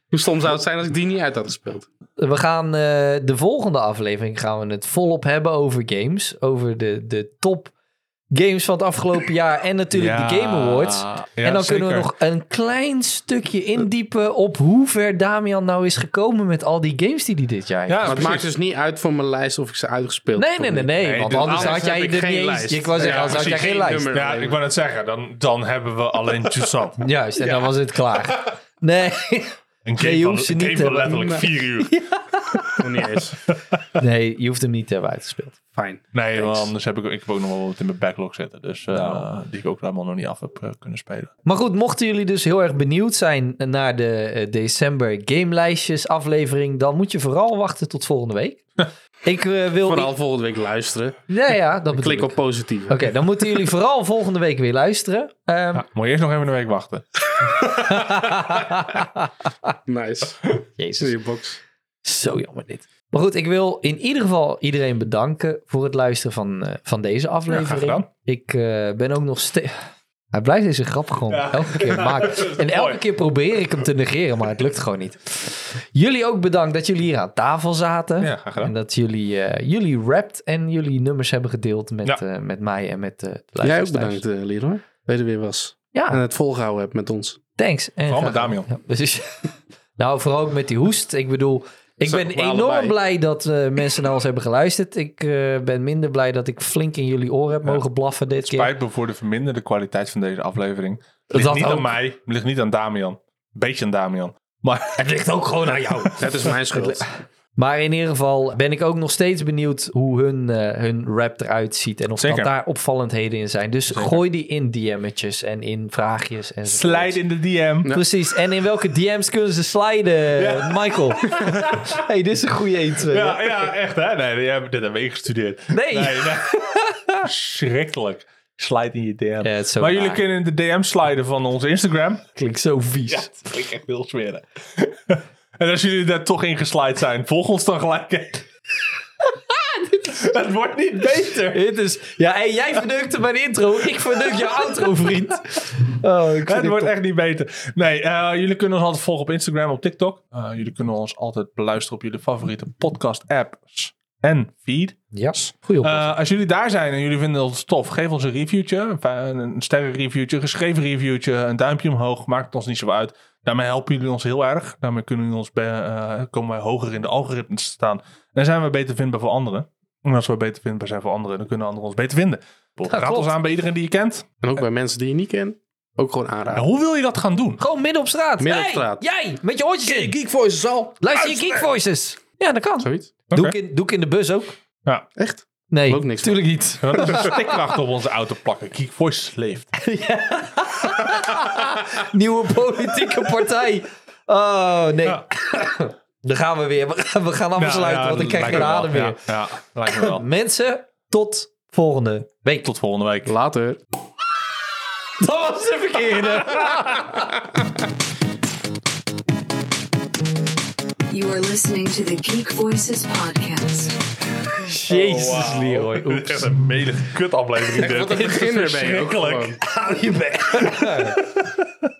Speaker 4: Hoe stom zou het zijn als ik die niet uit had gespeeld?
Speaker 2: We gaan eh, de volgende aflevering gaan we het volop hebben over games. Over de, de top games van het afgelopen jaar. En natuurlijk de Game Awards.
Speaker 3: Ja,
Speaker 2: en dan
Speaker 3: zeker.
Speaker 2: kunnen we nog een klein stukje indiepen op hoe ver Damian nou is gekomen met al die games die hij dit jaar heeft.
Speaker 3: Ja,
Speaker 4: maar het
Speaker 3: precies.
Speaker 4: maakt dus niet uit voor mijn lijst of ik ze uitgespeeld
Speaker 2: Nee,
Speaker 4: heb
Speaker 2: nee,
Speaker 4: of
Speaker 2: nee,
Speaker 4: niet.
Speaker 2: nee.
Speaker 4: dus
Speaker 3: Nee,
Speaker 2: want
Speaker 3: dit-
Speaker 2: anders
Speaker 4: anders
Speaker 2: had jij
Speaker 4: heb
Speaker 2: er
Speaker 4: ik
Speaker 2: niet
Speaker 4: geen
Speaker 2: eens.
Speaker 4: lijst.
Speaker 2: Ik wou zeggen,
Speaker 3: Ja,
Speaker 2: anders had jij
Speaker 3: precies.
Speaker 2: geen
Speaker 4: Geen
Speaker 2: lijst.
Speaker 4: nummer.
Speaker 3: Ja, ik wou net zeggen, dan, dan hebben we alleen Toussaint.
Speaker 2: Juist, en dan was het klaar. Nee, Nee,
Speaker 3: Een game,
Speaker 2: je
Speaker 3: van,
Speaker 2: hoeft ze
Speaker 3: een
Speaker 2: niet
Speaker 3: game
Speaker 2: te
Speaker 3: van
Speaker 2: hebben.
Speaker 3: letterlijk vier uur.
Speaker 4: Nog niet eens.
Speaker 2: nee, je hoeft hem niet eh, te hebben uitgespeeld.
Speaker 4: Fijn.
Speaker 3: Nee, want anders heb ik, ik heb ook nog wel wat in mijn backlog zitten. Dus, eh, Die ik ook helemaal nog niet af heb eh, kunnen spelen.
Speaker 2: Maar goed, mochten jullie dus heel erg benieuwd zijn naar de eh, december gamelijstjes aflevering, dan moet je vooral wachten tot volgende week. Ik eh, wil...
Speaker 4: Vooral volgende week luisteren.
Speaker 2: Ja, ja, dat bedoel
Speaker 4: Klik
Speaker 2: ik.
Speaker 4: op
Speaker 2: Oké,
Speaker 4: positief.
Speaker 2: dan moeten jullie vooral volgende week weer luisteren. Ehm,
Speaker 4: Ah,
Speaker 3: Ja, moet je eerst nog even een week wachten.
Speaker 4: Nice.
Speaker 2: Jezus.
Speaker 4: Je box.
Speaker 2: Zo jammer dit. Maar goed, ik wil in ieder geval iedereen bedanken voor het luisteren van, eh, van deze
Speaker 3: graag
Speaker 2: aflevering.
Speaker 3: gedaan.
Speaker 2: ik eh, ben ook nog steeds... Hij blijft deze grap gewoon elke keer maken. En elke keer probeer ik hem te negeren, maar het lukt gewoon niet. Jullie ook bedankt dat jullie hier aan tafel zaten.
Speaker 3: Ja, graag gedaan.
Speaker 2: En dat jullie, eh, jullie rapt en jullie nummers hebben gedeeld met,
Speaker 3: Ja.
Speaker 2: eh, met mij en met eh de
Speaker 4: Jij ook
Speaker 2: luisteraars thuis.
Speaker 4: bedankt, eh, Leroy. Dat je er weer was. En
Speaker 2: Ja,
Speaker 4: het volgehouden hebt met ons.
Speaker 2: thanks. En
Speaker 3: Vooral met
Speaker 2: graag-
Speaker 3: Damian.
Speaker 2: Ja, precies. Dus nou, vooral ook met die hoest. Ik bedoel, ik
Speaker 3: Zo,
Speaker 2: ben
Speaker 3: we
Speaker 2: enorm
Speaker 3: allebei.
Speaker 2: blij dat eh, mensen naar ons hebben geluisterd. Ik eh, ben minder blij dat ik flink in jullie oren heb mogen blaffen dit keer.
Speaker 3: Spijt me voor de verminderde kwaliteit van deze aflevering.
Speaker 2: Dat
Speaker 3: Ligt
Speaker 2: had
Speaker 3: niet
Speaker 2: ook.
Speaker 3: aan mij, ligt niet aan Damian. Beetje aan Damian. Maar het ligt ook
Speaker 2: Oh,
Speaker 3: gewoon aan jou.
Speaker 4: Het is mijn schuld.
Speaker 2: Maar in ieder geval ben ik ook nog steeds benieuwd hoe hun, eh, hun rap eruit ziet. En of dat
Speaker 3: Zeker.
Speaker 2: daar opvallendheden in zijn. Dus gooi die in DM'tjes en in vraagjes. En
Speaker 3: Slijt in de DM.
Speaker 2: Precies. En in welke DM's kunnen ze sliden, Michael? hey, dit is een goede 1, 2.
Speaker 3: Ja, ja, echt hè. Nee, die hebben- dit hebben we ingestudeerd.
Speaker 2: Nee.
Speaker 3: nee, Schrikkelijk. Slijt in je DM.
Speaker 2: Ja, het is zo
Speaker 3: maar jullie
Speaker 2: raar.
Speaker 3: kunnen in de DM sliden van ons Instagram.
Speaker 2: Klinkt zo vies.
Speaker 3: Dat klinkt echt heel smeren. en als jullie daar toch in geslijt zijn, volg ons dan gelijk. Het wordt niet beter.
Speaker 2: Dit is, ja, hey, jij vernukte mijn intro. Ik verneuk je outro, vriend. Oh, ik
Speaker 3: Het wordt echt niet beter. Nee, eh, jullie kunnen ons altijd volgen op Instagram, op TikTok. Eh, jullie kunnen ons altijd beluisteren op jullie favoriete podcast-apps en feed.
Speaker 2: Ja, goeie op.
Speaker 3: Eh, als jullie daar zijn en jullie vinden ons tof, geef ons een reviewtje. Een fi- Een, een sterrenreviewtje, een geschreven reviewtje, een duimpje omhoog. Maakt het ons niet zo uit. Daarmee helpen jullie ons heel erg. Daarmee kunnen jullie ons bij- eh, komen wij hoger in de algoritmes te staan. En zijn we beter vindbaar voor anderen. En als we beter vindbaar zijn voor anderen, dan kunnen anderen ons beter vinden. Raad ons aan bij iedereen die je kent.
Speaker 4: En ook bij mensen die je niet kent. Ook gewoon
Speaker 3: En
Speaker 4: aanraden.
Speaker 3: hoe wil je dat gaan doen?
Speaker 2: Gewoon midden op straat.
Speaker 4: Midden op
Speaker 2: Hey,
Speaker 4: straat.
Speaker 2: jij, met je oortjes in.
Speaker 4: Geek Voices al.
Speaker 2: Luister je Geek Voices. Ja, dat kan.
Speaker 4: Zoiets.
Speaker 2: Doe, ik
Speaker 3: Oké.
Speaker 2: in, doe ik in de bus ook?
Speaker 4: Echt?
Speaker 2: Nee,
Speaker 4: Ook niks
Speaker 2: tuurlijk niet.
Speaker 3: Ja, dat is een stikkracht op onze auto plakken. Geek Voice leeft.
Speaker 2: Nieuwe politieke partij. Oh, nee.
Speaker 3: Ja.
Speaker 2: Dan gaan we weer. We gaan, we gaan afsluiten,
Speaker 3: Ja, ja,
Speaker 2: want ik
Speaker 3: dat
Speaker 2: krijg
Speaker 3: lijkt
Speaker 2: geen
Speaker 3: me wel.
Speaker 2: adem meer.
Speaker 3: Ja, ja, lijkt me wel.
Speaker 2: Mensen, tot volgende week.
Speaker 3: Tot volgende week.
Speaker 4: Later.
Speaker 2: Dat was de verkeerde.
Speaker 1: You are listening to the Geek Voices Podcast.
Speaker 2: Jezus, Leroy.
Speaker 3: Dit is echt een melige kutaflevering. dit.
Speaker 4: Wat een beginner ben je ook
Speaker 3: Ah, Verschrikkelijk.
Speaker 4: gewoon.
Speaker 2: Hou je bek.